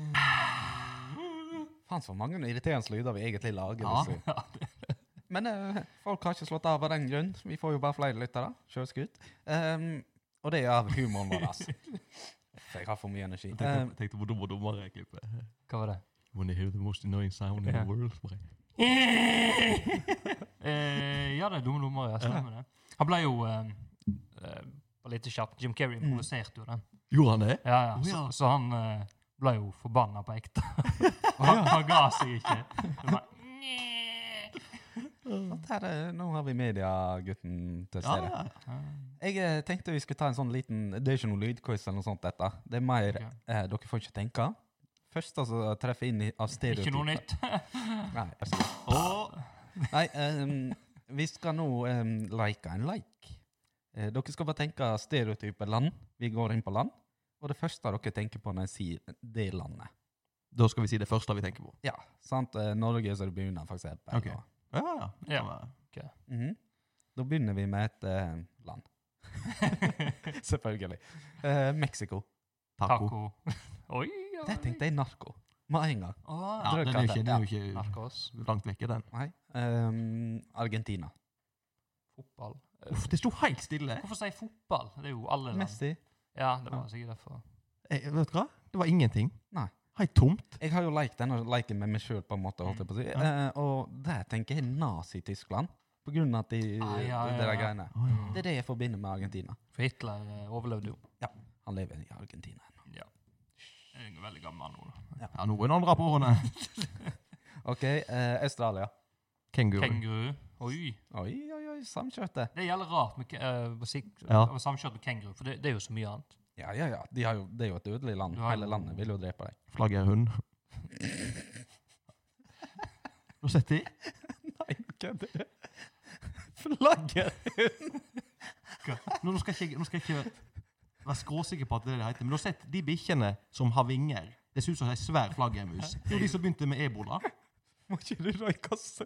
[SPEAKER 2] Faen, så mange irriterende lyder vi egentlig lager.
[SPEAKER 3] Ja.
[SPEAKER 2] hvis vi- Men eh, folk har ikke slått av av den grunn. Vi får jo bare flere lyttere. Sjølskutt. Um, og det er av humoren vår, altså. For jeg har for mye energi.
[SPEAKER 3] Jeg
[SPEAKER 2] Eh,
[SPEAKER 3] tenkte, tenkte hvor dum og dummere jeg klippet.
[SPEAKER 1] Hva var det?
[SPEAKER 3] When they hear the most annoying sound in
[SPEAKER 1] Ja.
[SPEAKER 3] the world. Bare,
[SPEAKER 1] eh, ja, det er dumme nummer, ja. Stemmer det. Han ble jo eh, eh, bare litt kjapt. Jim Carrey improviserte jo den.
[SPEAKER 3] Gjorde han det?
[SPEAKER 1] Ja, ja.
[SPEAKER 3] Å,
[SPEAKER 1] Så,
[SPEAKER 3] ja.
[SPEAKER 1] så han eh, ble jo forbanna på ekte.
[SPEAKER 2] Å,
[SPEAKER 1] han, han ga seg ikke. Det var-
[SPEAKER 2] sant her, eh, nå har vi mediegutten til
[SPEAKER 3] Ja,
[SPEAKER 2] stede.
[SPEAKER 3] ja.
[SPEAKER 2] Jeg eh, tenkte vi skulle ta en sånn liten Det er ikke noe lydquiz eller noe sånt, dette. Det er mer
[SPEAKER 1] Ok.
[SPEAKER 2] eh, Dere får ikke tenke. Første som treffer inn i, av stereotyper
[SPEAKER 1] Ikke noe nytt.
[SPEAKER 2] Nei, vær så god.
[SPEAKER 3] Og
[SPEAKER 2] Nei ehm, vi skal nå um, like en like. Eh, dere skal bare tenke stereotype land. Vi går inn på land. Og det første dere tenker på når jeg sier det landet.
[SPEAKER 3] da skal vi si det første vi tenker på.
[SPEAKER 2] Ja, sant? Eh, Norge som begynner, for eksempel.
[SPEAKER 3] Ok.
[SPEAKER 2] og-
[SPEAKER 3] Ja, ja. det kan
[SPEAKER 1] Ja.
[SPEAKER 3] være.
[SPEAKER 2] Mhm. Da begynner vi med et eh, land. Selvfølgelig. Eh, Mexico.
[SPEAKER 3] Taco.
[SPEAKER 1] Taco. Oi, ja.
[SPEAKER 2] Der tenkte jeg narko. Med en gang.
[SPEAKER 1] Å,
[SPEAKER 3] Ja, den er jo ikke, den er jo ikke
[SPEAKER 1] Narkos.
[SPEAKER 3] langt vekke, den.
[SPEAKER 2] Nei. ehm, Argentina.
[SPEAKER 1] Fotball. Eh,
[SPEAKER 3] Uff, det sto helt stille.
[SPEAKER 1] Hvorfor sier jeg fotball? Det er jo alle land.
[SPEAKER 2] Messi.
[SPEAKER 1] Ja, det var sikkert derfor.
[SPEAKER 3] Eh, vet du hva? Det var ingenting.
[SPEAKER 2] Nei.
[SPEAKER 3] Helt tomt.
[SPEAKER 2] Jeg har jo likt denne leken med meg sjøl, på en måte. holdt jeg på å si.
[SPEAKER 1] Mm.
[SPEAKER 2] Eh, og der tenker jeg Nazi-Tyskland, på grunn av at de,
[SPEAKER 1] Ah, ja,
[SPEAKER 2] de
[SPEAKER 1] ja,
[SPEAKER 2] der
[SPEAKER 1] ja.
[SPEAKER 2] greiene. Det er det jeg forbinder med Argentina.
[SPEAKER 1] For Hitler eh, overlevde jo.
[SPEAKER 2] Han lever i Argentina ennå.
[SPEAKER 1] Jeg er veldig gammel nå. da.
[SPEAKER 3] Ja, noen andre på hånda.
[SPEAKER 2] OK, eh, Australia.
[SPEAKER 3] Kenguru.
[SPEAKER 1] Kenguru. Oi.
[SPEAKER 2] Oi, oi, oi, samkjørte.
[SPEAKER 1] Det er jævlig rart med uh,
[SPEAKER 3] Ja.
[SPEAKER 1] samkjørt med kenguru, for det, det er jo så mye annet.
[SPEAKER 2] Ja, ja, ja. De har jo, det er jo et dødelig land.
[SPEAKER 1] Du har
[SPEAKER 2] Hele
[SPEAKER 1] jo-
[SPEAKER 2] landet vil jo drepe deg.
[SPEAKER 3] Flaggerhund. Nå setter jeg.
[SPEAKER 2] Nei, kødder du? Flagget!
[SPEAKER 3] Nå, nå skal jeg ikke, nå skal jeg ikke være skråsikker på at det er det det heter, men nå setter de bikkjene som har vinger. Det ser ut som en svær flaggermus. Det er jo de som begynte med ebola.
[SPEAKER 2] Må ikke du røyke oss?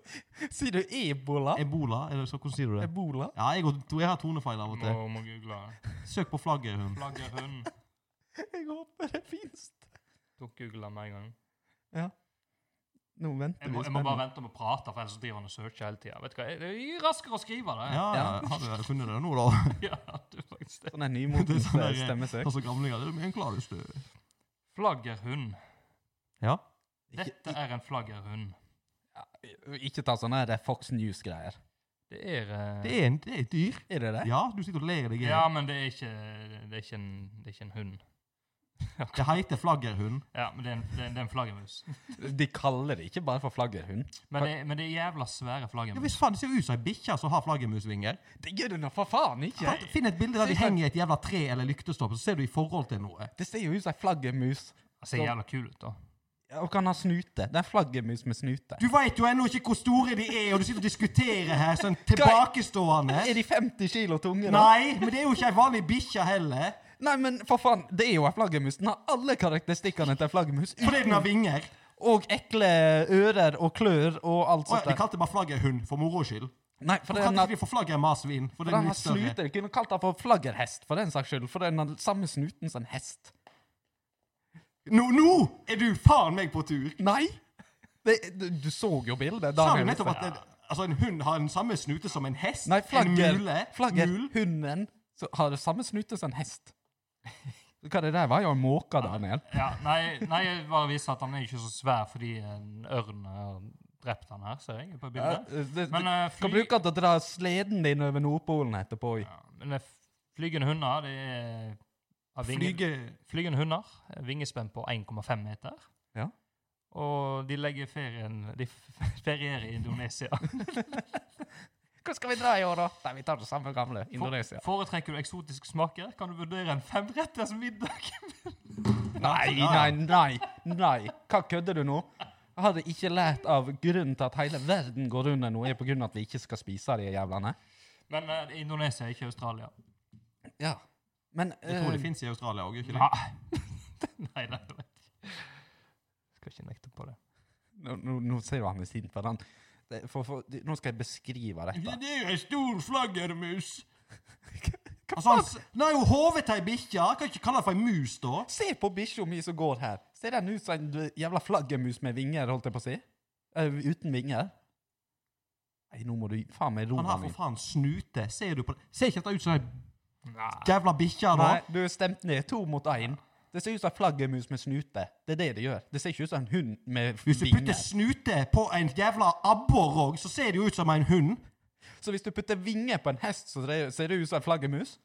[SPEAKER 2] Sier du ebola?
[SPEAKER 3] Ebola, eller så, hvordan sier du det?
[SPEAKER 2] Ebola?
[SPEAKER 3] Ja, jeg, går- tror jeg har tonefeil av og til.
[SPEAKER 1] må google.
[SPEAKER 3] Søk på flaggerhund.
[SPEAKER 1] Flaggerhund.
[SPEAKER 2] Jeg håper det fins.
[SPEAKER 1] Tok googla med en gang.
[SPEAKER 2] Nå venter
[SPEAKER 1] Jeg må,
[SPEAKER 2] vi
[SPEAKER 1] jeg må bare
[SPEAKER 2] spennende.
[SPEAKER 1] vente med å prate, for ellers driver han og searcher hele tida. Vet du hva, det er jo raskere å skrive det.
[SPEAKER 3] Ja, ja. Har du funnet det nå, da?
[SPEAKER 1] Ja, det er faktisk det.
[SPEAKER 2] Sånn er nymotens
[SPEAKER 3] Det er
[SPEAKER 2] eh,
[SPEAKER 3] sånn der-
[SPEAKER 2] stemmesøk.
[SPEAKER 3] Ta så gamlinger. Det er med en klarus, du.
[SPEAKER 1] Flaggerhund.
[SPEAKER 3] Ja.
[SPEAKER 1] Dette er en flaggerhund.
[SPEAKER 2] Ja, Ikke ta sånne her Fox News-greier.
[SPEAKER 1] Det er eh,
[SPEAKER 3] Det er, en, det er et dyr.
[SPEAKER 2] Er det det?
[SPEAKER 3] Ja, du sitter og ler deg i
[SPEAKER 1] Ja,
[SPEAKER 3] hjel.
[SPEAKER 1] men det er ikke, det er ikke, en, det er ikke en hund.
[SPEAKER 3] Det heter flaggerhund.
[SPEAKER 1] Ja, men det er en, det er, det er en flaggermus.
[SPEAKER 2] De kaller det ikke bare for flaggerhund.
[SPEAKER 1] Men det, er- men det er jævla svære
[SPEAKER 3] Ja,
[SPEAKER 1] flaggermus.
[SPEAKER 3] hvis faen, Det ser jo ut som ei bikkje som har flaggermusvinger.
[SPEAKER 2] Det gjør det nå for faen ikke!
[SPEAKER 3] Ta- Finn et bilde der de henger i et jævla tre eller lyktestopp, så ser du i forhold til noe.
[SPEAKER 2] Det ser jo ut som ei flaggermus.
[SPEAKER 1] Det ser jævla kul ut, da.
[SPEAKER 2] Ja, Og kan ha snute. Det er en flaggermus med snute.
[SPEAKER 3] Du veit jo ennå ikke hvor store de er, og du sitter og diskuterer her sånn tilbakestående.
[SPEAKER 2] Er de 50 kilo tunge, da?
[SPEAKER 3] Nei, men det er jo ikke ei vanlig bikkje heller.
[SPEAKER 2] Nei, men for faen, det er jo ei flaggermus. Den har alle karakteristikkene til en flaggermus.
[SPEAKER 3] Fordi den har vinger.
[SPEAKER 2] Og ekle ører og klør og alt
[SPEAKER 3] Å ja,
[SPEAKER 2] sånt.
[SPEAKER 3] de
[SPEAKER 2] der.
[SPEAKER 3] kalte bare flagget hund, for moro skyld.
[SPEAKER 2] Nei, for
[SPEAKER 3] For
[SPEAKER 2] den
[SPEAKER 3] kan
[SPEAKER 2] har,
[SPEAKER 3] ikke de få flagget marsvin? For
[SPEAKER 2] for
[SPEAKER 3] den
[SPEAKER 2] den
[SPEAKER 3] er
[SPEAKER 2] har
[SPEAKER 3] litt større.
[SPEAKER 2] snute. De kunne kalt den for flaggerhest, for den saks skyld. For den har samme snuten som en hest.
[SPEAKER 3] Nå, nå er du faen meg på tur!
[SPEAKER 2] Nei! Det, du, du så jo bildet.
[SPEAKER 3] Sa du
[SPEAKER 2] Daniel.
[SPEAKER 3] nettopp at det, altså, en hund har den samme snute som en hest?
[SPEAKER 2] Nei, flagger,
[SPEAKER 3] En mule?
[SPEAKER 2] flagger
[SPEAKER 3] Mul?
[SPEAKER 2] hunden så har det samme snute som en hest. Hva det der var jo en måke, Daniel.
[SPEAKER 1] Ja, nei, nei, jeg bare viser at han er ikke så svær fordi en ørn har drept han her, ser jeg på
[SPEAKER 2] Ja,
[SPEAKER 1] bildet.
[SPEAKER 2] det, det,
[SPEAKER 1] Men, eh,
[SPEAKER 2] kan
[SPEAKER 1] fly-
[SPEAKER 2] bruke den til å dra sleden din over Nordpolen etterpå. i.
[SPEAKER 1] Ja, men det er flygende hunder, det er har vinger-
[SPEAKER 3] Flyge...
[SPEAKER 1] Flygende hunder, vingespenn på 1,5 meter.
[SPEAKER 2] Ja.
[SPEAKER 1] Og de legger ferien De f- ferierer i Indonesia.
[SPEAKER 2] Hvor skal vi dra i år, da? Nei, Vi tar det samme gamle. Indonesia.
[SPEAKER 1] Foretrekker du eksotisk smaker, kan du vurdere en femretters middag.
[SPEAKER 2] Nei, nei, nei. nei. Hva kødder du nå? Jeg hadde ikke lært av grunnen til at hele verden går under nå, er på grunn av at vi ikke skal spise de jævlene.
[SPEAKER 1] Men eh, det er Indonesia, ikke Australia.
[SPEAKER 2] Ja. Men
[SPEAKER 3] Jeg tror
[SPEAKER 2] eh,
[SPEAKER 3] det fins i Australia òg, ikke det?
[SPEAKER 1] Nei, nei det vet jeg ikke. Skal ikke nekte på det.
[SPEAKER 2] nå, nå, nå ser du han er sint på den. Det- For, for, du- nå skal jeg beskrive dette.
[SPEAKER 3] Det er ei stor flaggermus. Altså, han s- den er jo hodet til ei bikkje. Kan ikke kalle det for ei mus, da.
[SPEAKER 2] Se på bikkja mi som går her. Ser den ut som en eh, jævla flaggermus med vinger, holdt jeg på å si? Eh, uten vinger? Nei, nå må du faen meg roe
[SPEAKER 3] Han har
[SPEAKER 2] deg
[SPEAKER 3] for
[SPEAKER 2] ned.
[SPEAKER 3] faen snute. Ser du på det? Ser ikke dette ut som ei
[SPEAKER 1] Nei.
[SPEAKER 3] jævla bikkje, da?
[SPEAKER 2] Nei, du er stemt ned. To mot én. Det ser ut som en flaggermus med snute. Det er det det gjør. Det ser ikke ut som en hund med
[SPEAKER 3] Hvis du putter
[SPEAKER 2] vinger.
[SPEAKER 3] snute på en jævla abborrog, så ser det jo ut som en hund.
[SPEAKER 2] Så hvis du putter vinger på en hest, så dre- ser det ut som en flaggermus?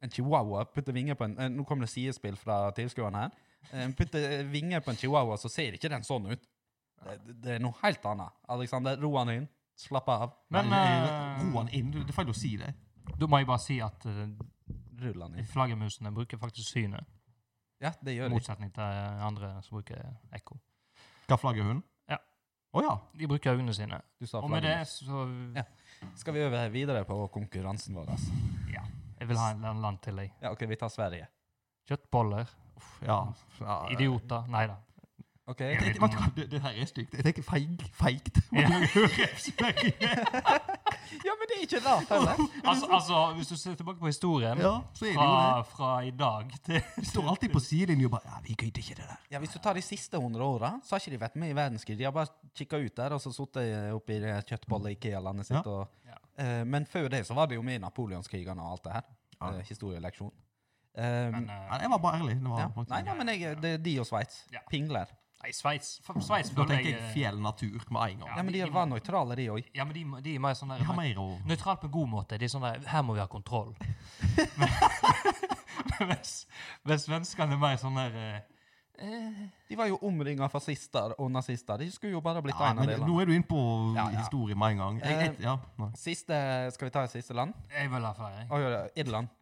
[SPEAKER 2] En chihuahua putter vinger på en eh, Nå kommer det sidespill fra tilskuerne her. Eh, Putter vinger på en chihuahua, så ser ikke den sånn ut. Det, det- det er noe helt annet. Alexander, ro han inn. Slapp av.
[SPEAKER 1] Men
[SPEAKER 3] eh,
[SPEAKER 1] eh,
[SPEAKER 3] Ro han inn. Det er feil å si det.
[SPEAKER 1] da må jeg bare si at eh,
[SPEAKER 2] Rull han inn.
[SPEAKER 1] flaggermusene bruker faktisk synet.
[SPEAKER 2] Ja, det
[SPEAKER 1] I
[SPEAKER 2] gjør de.
[SPEAKER 1] motsetning til eh, andre som bruker ekko.
[SPEAKER 3] Hva flagger hund?
[SPEAKER 1] Ja.
[SPEAKER 3] Å ja.
[SPEAKER 1] De bruker øynene sine.
[SPEAKER 2] Du sa
[SPEAKER 1] Og med det
[SPEAKER 2] flaggermus.
[SPEAKER 1] så eh,
[SPEAKER 2] Ja. Skal vi over videre på konkurransen vår? altså?
[SPEAKER 1] Ja. Jeg vil ha en eller annen land til, jeg.
[SPEAKER 2] Ja, OK, vi tar Sverige.
[SPEAKER 1] Kjøttboller.
[SPEAKER 3] ja. ja.
[SPEAKER 1] Idioter. Nei da.
[SPEAKER 2] OK?
[SPEAKER 1] Ja.
[SPEAKER 3] Jeg- vet du hva, Det, det her er stygt. Jeg tenker feig, feigt. Når jeg hører Sverige,
[SPEAKER 2] Ja, men det er ikke rart heller.
[SPEAKER 1] Altså, altså, hvis du ser tilbake på historien
[SPEAKER 3] ja, så er det jo
[SPEAKER 1] fra,
[SPEAKER 3] det.
[SPEAKER 1] fra i dag til
[SPEAKER 3] De står alltid på sidelinja og bare Ja, vi gidder ikke det der.
[SPEAKER 2] Ja, Hvis du tar de siste 100 åra, så har ikke de vært med i verdenskrig. De har bare kikka ut der og så sittet oppi det kjøttbolle i Ikea-landet sitt. Og,
[SPEAKER 1] Ja.
[SPEAKER 2] Eh, men før det så var det jo med i napoleonskrigene og alt det her.
[SPEAKER 3] Ja.
[SPEAKER 2] Eh, historieleksjon. Eh,
[SPEAKER 1] Men,
[SPEAKER 3] Ja,
[SPEAKER 1] eh,
[SPEAKER 3] jeg var bare ærlig. Det var,
[SPEAKER 2] ja.
[SPEAKER 3] faktisk-
[SPEAKER 2] Nei, nei, men jeg, det er de og Sveits.
[SPEAKER 1] Ja.
[SPEAKER 2] Pingler.
[SPEAKER 1] Nei, Sveits F- Sveits
[SPEAKER 3] Da
[SPEAKER 1] føler
[SPEAKER 3] tenker
[SPEAKER 1] jeg
[SPEAKER 3] jeg
[SPEAKER 1] eh,
[SPEAKER 3] fjell natur med en gang.
[SPEAKER 2] Ja, men de var nøytrale, de òg.
[SPEAKER 1] Ja, men de, de er mer sånn
[SPEAKER 3] Jeg har
[SPEAKER 1] der
[SPEAKER 3] mer å
[SPEAKER 1] Nøytralt på en god måte. De er sånn der Her må vi ha kontroll. Men- Mens mens svenskene er mer sånn der eh,
[SPEAKER 2] De var jo omringa av fascister og nazister. De skulle jo bare blitt
[SPEAKER 3] ja,
[SPEAKER 2] en av
[SPEAKER 3] men Nå
[SPEAKER 2] delene.
[SPEAKER 3] er du inne på
[SPEAKER 2] Ja, ja.
[SPEAKER 3] historie med en gang. Jeg, jeg, ja, nei.
[SPEAKER 2] Siste, Skal vi ta et siste land?
[SPEAKER 1] Jeg vil ha flere. jeg.
[SPEAKER 2] Å, ja, Irland.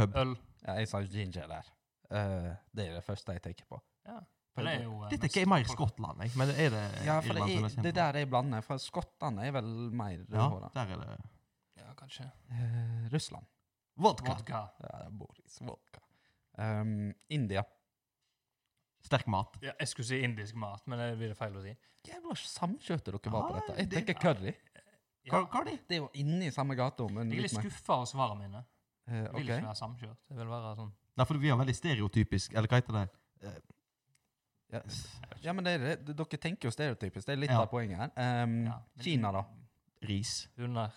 [SPEAKER 3] Pub.
[SPEAKER 1] Øl.
[SPEAKER 2] Ja, jeg sa ginger der. Eh, det er det første jeg tenker på.
[SPEAKER 1] Ja, Men det er jo eh,
[SPEAKER 3] Dette
[SPEAKER 1] mest
[SPEAKER 3] er ikke mer
[SPEAKER 1] folk-
[SPEAKER 3] Skottland, jeg. Men er det
[SPEAKER 2] Ja, for
[SPEAKER 3] Irland
[SPEAKER 2] det,
[SPEAKER 3] som
[SPEAKER 2] er,
[SPEAKER 3] er kjent
[SPEAKER 2] det der er blandet, for skottene er vel mer
[SPEAKER 3] for? Ja,
[SPEAKER 2] rødhåra.
[SPEAKER 3] der er det
[SPEAKER 1] Ja, kanskje.
[SPEAKER 2] Eh, Russland.
[SPEAKER 3] Vodka.
[SPEAKER 1] Vodka.
[SPEAKER 2] Ja, det er Boris Vodka. Um, India.
[SPEAKER 3] Sterk mat.
[SPEAKER 1] Ja, jeg skulle si indisk mat, men det blir det feil å si.
[SPEAKER 2] Jævla samkjørte dere var på
[SPEAKER 3] Ja,
[SPEAKER 2] dette.
[SPEAKER 3] det-
[SPEAKER 2] Jeg tenker curry.
[SPEAKER 1] Ja.
[SPEAKER 3] Hva, hva er det?
[SPEAKER 2] Det er jo inne i samme gata, men
[SPEAKER 1] Jeg er
[SPEAKER 2] litt
[SPEAKER 1] litt
[SPEAKER 2] mer.
[SPEAKER 1] skuffa av svarene mine.
[SPEAKER 2] Eh,
[SPEAKER 1] Jeg vil
[SPEAKER 2] ok.
[SPEAKER 1] ikke være samkjørt. Jeg vil være sånn
[SPEAKER 3] Nei, for vi har veldig stereotypisk Eller hva heter det? Eh,
[SPEAKER 2] Ja. ja, men det er, det. dere tenker jo stereotypisk. Det er litt
[SPEAKER 3] Ja.
[SPEAKER 2] av poenget her. Um,
[SPEAKER 3] Mm.
[SPEAKER 1] ja, men-
[SPEAKER 2] Kina, da.
[SPEAKER 3] Ris.
[SPEAKER 1] Hunder.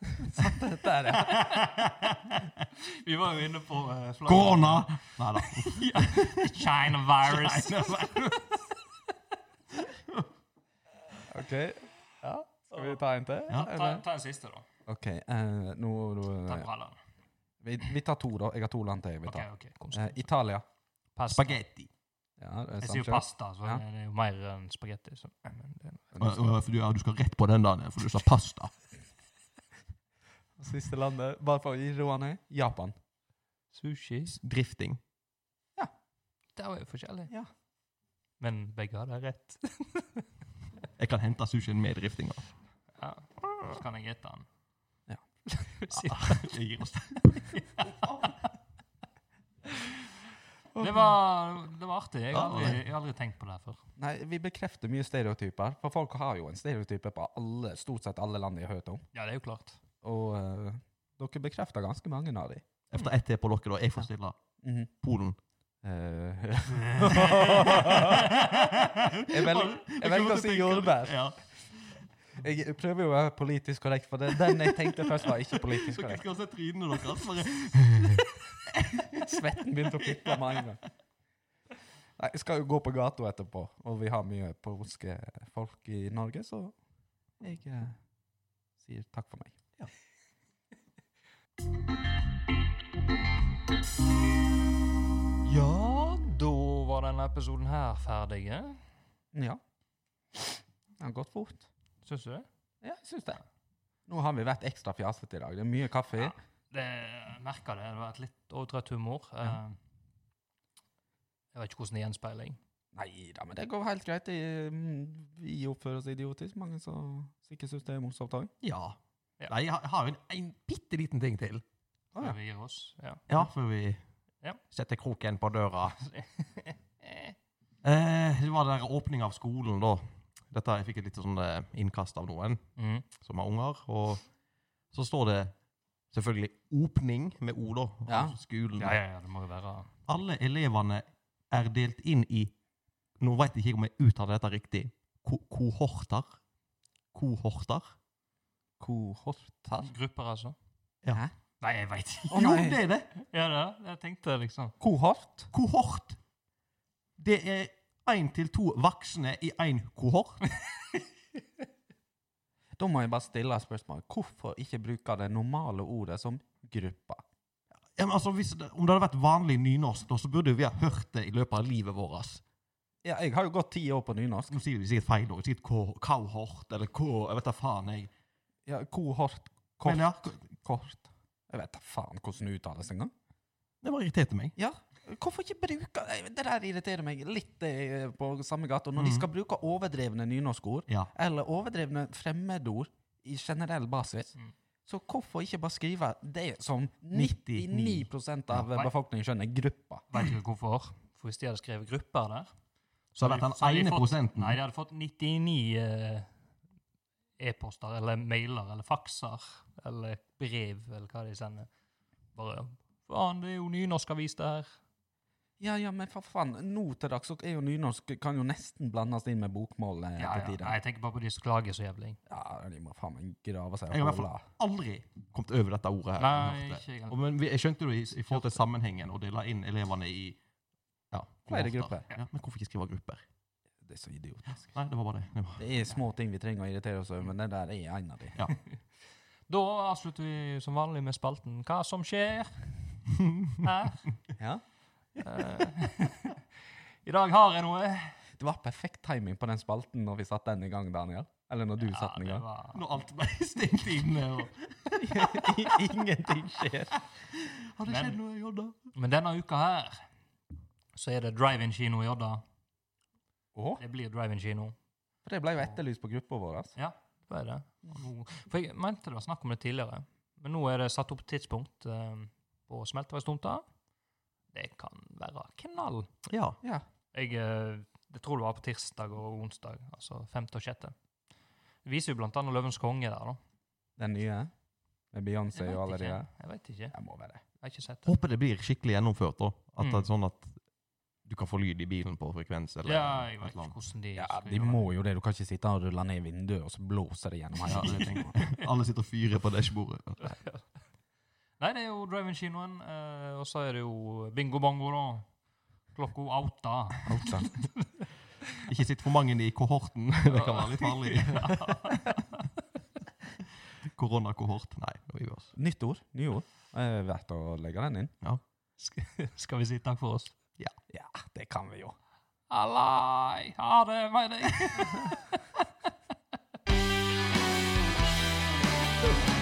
[SPEAKER 2] Dette er det.
[SPEAKER 1] Vi var jo inne på uh,
[SPEAKER 3] Corona! Nei da.
[SPEAKER 1] China virus.
[SPEAKER 2] Ok. Ja, skal vi ta en til?
[SPEAKER 3] Ja,
[SPEAKER 1] Ta,
[SPEAKER 2] eller?
[SPEAKER 1] ta en siste, da.
[SPEAKER 2] Ok, eh, nå...
[SPEAKER 1] Ta
[SPEAKER 2] nå-
[SPEAKER 1] brallene.
[SPEAKER 2] Vi, vi tar to, da. Jeg har to land til jeg vil
[SPEAKER 1] OK,
[SPEAKER 2] ta.
[SPEAKER 1] OK. Kom,
[SPEAKER 2] Eh, Italia.
[SPEAKER 1] pasta.
[SPEAKER 3] Spagetti.
[SPEAKER 2] Ja, det er
[SPEAKER 1] Jeg sier jo
[SPEAKER 2] samkjørt.
[SPEAKER 1] pasta, så
[SPEAKER 2] Ja.
[SPEAKER 1] det er jo mer enn spagetti. Så. Men det er noe.
[SPEAKER 3] Å, å, Eh, for du, ja, du skal rett på den, Daniel, for du sa pasta.
[SPEAKER 2] Siste landet, bare for å gi roa ned. Japan.
[SPEAKER 1] Sushi
[SPEAKER 3] Drifting.
[SPEAKER 1] Det var jo forskjellig.
[SPEAKER 2] Ja.
[SPEAKER 1] Men begge hadde rett.
[SPEAKER 3] Jeg kan hente sushien med driftinga.
[SPEAKER 1] Ja. Så kan jeg ete den.
[SPEAKER 2] Ja.
[SPEAKER 1] Sitt.
[SPEAKER 3] Det gir oss det.
[SPEAKER 2] Å,
[SPEAKER 1] Det var, det var artig. Jeg har aldri,
[SPEAKER 3] Ja.
[SPEAKER 1] jeg har aldri tenkt på det her før.
[SPEAKER 2] Nei, vi bekrefter mye stereotyper, for folk har jo en stereotype på alle, stort sett alle land jeg har hørt om.
[SPEAKER 1] Ja, det er jo klart.
[SPEAKER 2] Og eh, dere bekrefter ganske mange av dem.
[SPEAKER 3] Efter ett til på dere, da. Jeg får stille. Polen.
[SPEAKER 2] Eh, Jeg velger- jeg velger å si jordbær.
[SPEAKER 1] Ja.
[SPEAKER 2] jeg prøver jo å være politisk korrekt, for det, den jeg tenkte først, var ikke politisk
[SPEAKER 3] Dere
[SPEAKER 2] korrekt.
[SPEAKER 3] skal se trynene deres. Bare
[SPEAKER 2] Svetten begynte å pippe med en gang. Nei, jeg skal jo gå på gata etterpå, og vi har mye polske folk i Norge, så jeg eh, sier takk for meg.
[SPEAKER 1] ja, da var denne episoden her ferdig. eh?
[SPEAKER 2] Ja. Det har gått fort.
[SPEAKER 1] Syns du?
[SPEAKER 2] Ja, jeg syns det. Nå har vi vært ekstra fjasete i dag. Det er mye kaffe.
[SPEAKER 1] Ja. Det, jeg merka det. Det var et litt overtrøtt humor.
[SPEAKER 2] Ja.
[SPEAKER 1] Eh, Jeg vet ikke hvordan det gjenspeiler. jeg.
[SPEAKER 2] Nei da, men det går helt greit. Det, mm, Vi oppfører oss idiotisk. Mange som sikkert syns det er morsomt òg.
[SPEAKER 3] Ja.
[SPEAKER 1] Ja.
[SPEAKER 3] Nei, jeg har- jeg har jo en, en bitte liten ting til.
[SPEAKER 2] Å, ja.
[SPEAKER 1] Før vi gir oss. Ja.
[SPEAKER 3] Ja, før vi
[SPEAKER 1] Ja.
[SPEAKER 3] setter kroken på døra. Eh, det var den der åpning av skolen, da. Dette Jeg fikk et lite sånn eh, innkast av noen
[SPEAKER 1] Mhm.
[SPEAKER 3] som har unger. Og så står det selvfølgelig 'åpning' med O, da.
[SPEAKER 2] Ja.
[SPEAKER 3] altså Skolen.
[SPEAKER 1] ja, ja, ja, det må jo være
[SPEAKER 3] Alle elevene er delt inn i Nå vet jeg ikke om jeg uttaler dette riktig. Ko kohorter. Kohorter?
[SPEAKER 2] Kohorter.
[SPEAKER 1] grupper, altså.
[SPEAKER 3] Ja.
[SPEAKER 2] Hæ?
[SPEAKER 1] Nei, jeg veit ikke.
[SPEAKER 2] Å
[SPEAKER 3] jo,
[SPEAKER 2] nei.
[SPEAKER 3] det er det!
[SPEAKER 1] Ja, det er det. jeg tenkte liksom.
[SPEAKER 2] Kohort?
[SPEAKER 3] Kohort. Det er én til to voksne i én kohort.
[SPEAKER 2] Da må jeg bare stille et spørsmål. Hvorfor ikke bruke det normale ordet som gruppa?
[SPEAKER 3] Ja, men altså, hvis det, om det hadde vært vanlig nynorsk, da, så burde vi ha hørt det i løpet av livet vårt.
[SPEAKER 2] Ja, jeg har jo gått ti år på nynorsk.
[SPEAKER 3] Nå sier vi sikkert feil ord. Sikkert ko- kohort eller ko... Jeg vet da faen, jeg.
[SPEAKER 2] Ja, kohort. Kort.
[SPEAKER 3] Men ja,
[SPEAKER 2] Kort. Jeg vet da faen hvordan det uttales engang.
[SPEAKER 3] det bare irriterte meg.
[SPEAKER 2] Ja. Hvorfor ikke bruke Nei, Det der irriterer meg litt eh, på samme gata. Når de skal bruke overdrevne nynorskord,
[SPEAKER 3] Ja.
[SPEAKER 2] eller overdrevne fremmedord i generell basis,
[SPEAKER 1] Mm.
[SPEAKER 2] så hvorfor ikke bare skrive det som
[SPEAKER 3] 99%
[SPEAKER 2] 99 av
[SPEAKER 1] Ja.
[SPEAKER 2] befolkningen skjønner, gruppa?
[SPEAKER 1] Vet ikke hvorfor. For hvis de hadde skrevet grupper der
[SPEAKER 3] Så hadde den
[SPEAKER 1] Så hadde de
[SPEAKER 3] ene
[SPEAKER 1] fått-
[SPEAKER 3] prosenten
[SPEAKER 1] Nei, de hadde fått 99 eh, e-poster eller mailer eller fakser eller brev eller hva de sender. Bare Faen, det er jo nynorskavis, det her.
[SPEAKER 2] Ja, ja, men for faen, nå til dags så er jo nynorsk kan jo nesten blandes inn med bokmål eh,
[SPEAKER 1] Ja,
[SPEAKER 2] til
[SPEAKER 1] ja.
[SPEAKER 2] tider.
[SPEAKER 1] Nei, jeg tenker bare på de som klager så jævlig.
[SPEAKER 2] Ja, de må faen meg grave seg
[SPEAKER 3] Jeg har i
[SPEAKER 2] og
[SPEAKER 3] hvert
[SPEAKER 2] holde.
[SPEAKER 3] fall aldri kommet over dette ordet. her.
[SPEAKER 1] Nei, ikke jeg
[SPEAKER 3] Og,
[SPEAKER 1] heller.
[SPEAKER 3] men vi- jeg skjønte det i, i forhold til sammenhengen, og de la inn elevene i ja,
[SPEAKER 2] Flere
[SPEAKER 3] kohorter.
[SPEAKER 2] grupper.
[SPEAKER 3] Ja, men hvorfor ikke skrive grupper?
[SPEAKER 2] Det er så idiotisk.
[SPEAKER 3] Nei, det var bare det. det var.
[SPEAKER 2] Det er små ting vi trenger å irritere oss over, men det der er en av de.
[SPEAKER 1] Da avslutter vi som vanlig med spalten Hva som skjer her.
[SPEAKER 2] Ja?
[SPEAKER 1] Eh, I dag har jeg noe.
[SPEAKER 2] Det var perfekt timing på den spalten når vi satte den i gang, Daniel. Eller når du satte den i
[SPEAKER 1] det
[SPEAKER 2] gang.
[SPEAKER 1] var
[SPEAKER 3] Når alt ble stengt inne, og
[SPEAKER 2] Ingenting skjer.
[SPEAKER 3] Har det
[SPEAKER 1] Men-
[SPEAKER 3] skjedd noe, Jodda?
[SPEAKER 1] Men denne uka her så er det drive-in-kino i Odda.
[SPEAKER 2] Å,
[SPEAKER 1] Det blir drive-in-kino.
[SPEAKER 2] for det ble jo etterlyst på gruppa vår. Altså.
[SPEAKER 1] Ja, det er det. Nå- For jeg mente det var snakk om det tidligere, men nå er det satt opp tidspunkt eh, på smelteverkstomta. Det kan være knall.
[SPEAKER 3] Ja.
[SPEAKER 2] Ja.
[SPEAKER 1] Jeg, eh, jeg tror det var på tirsdag og onsdag, altså femte og sjette. Det viser jo blant annet Løvens konge der, da.
[SPEAKER 2] Den nye med Beyoncé
[SPEAKER 1] Jeg
[SPEAKER 2] og alle
[SPEAKER 1] vet
[SPEAKER 2] de
[SPEAKER 1] ikke.
[SPEAKER 2] der.
[SPEAKER 1] Jeg vet ikke.
[SPEAKER 2] Det må være det.
[SPEAKER 1] Jeg har ikke sett det.
[SPEAKER 3] Håper det blir skikkelig gjennomført, da. At det
[SPEAKER 1] Mm.
[SPEAKER 3] er sånn at du kan få lyd i bilen på frekvens, eller
[SPEAKER 1] Ja, jeg
[SPEAKER 3] et
[SPEAKER 1] vet
[SPEAKER 3] eller
[SPEAKER 1] ikke
[SPEAKER 3] annet.
[SPEAKER 1] hvordan de
[SPEAKER 2] Ja,
[SPEAKER 1] skal
[SPEAKER 2] De
[SPEAKER 1] gjøre
[SPEAKER 2] må jo det. Du kan ikke sitte og rulle ned vinduet, og så blåser det gjennom
[SPEAKER 3] Ja,
[SPEAKER 2] hele
[SPEAKER 3] det
[SPEAKER 2] tiden.
[SPEAKER 3] Alle sitter og fyrer på dashbordet.
[SPEAKER 1] Nei, det er jo drive-in-kinoen, eh, og så er det jo bingo-bongo, da. Klokka outa.
[SPEAKER 2] Altså,
[SPEAKER 3] Ikke sitt for mange i kohorten. Det kan være litt farlig. Koronakohort. Nei, nå gir vi oss.
[SPEAKER 2] Nytt ord. Nye ord. Eh, Verdt å legge den inn.
[SPEAKER 1] Skal vi si takk for oss?
[SPEAKER 2] Ja, det kan vi jo.
[SPEAKER 1] Hallai! Ha det med deg!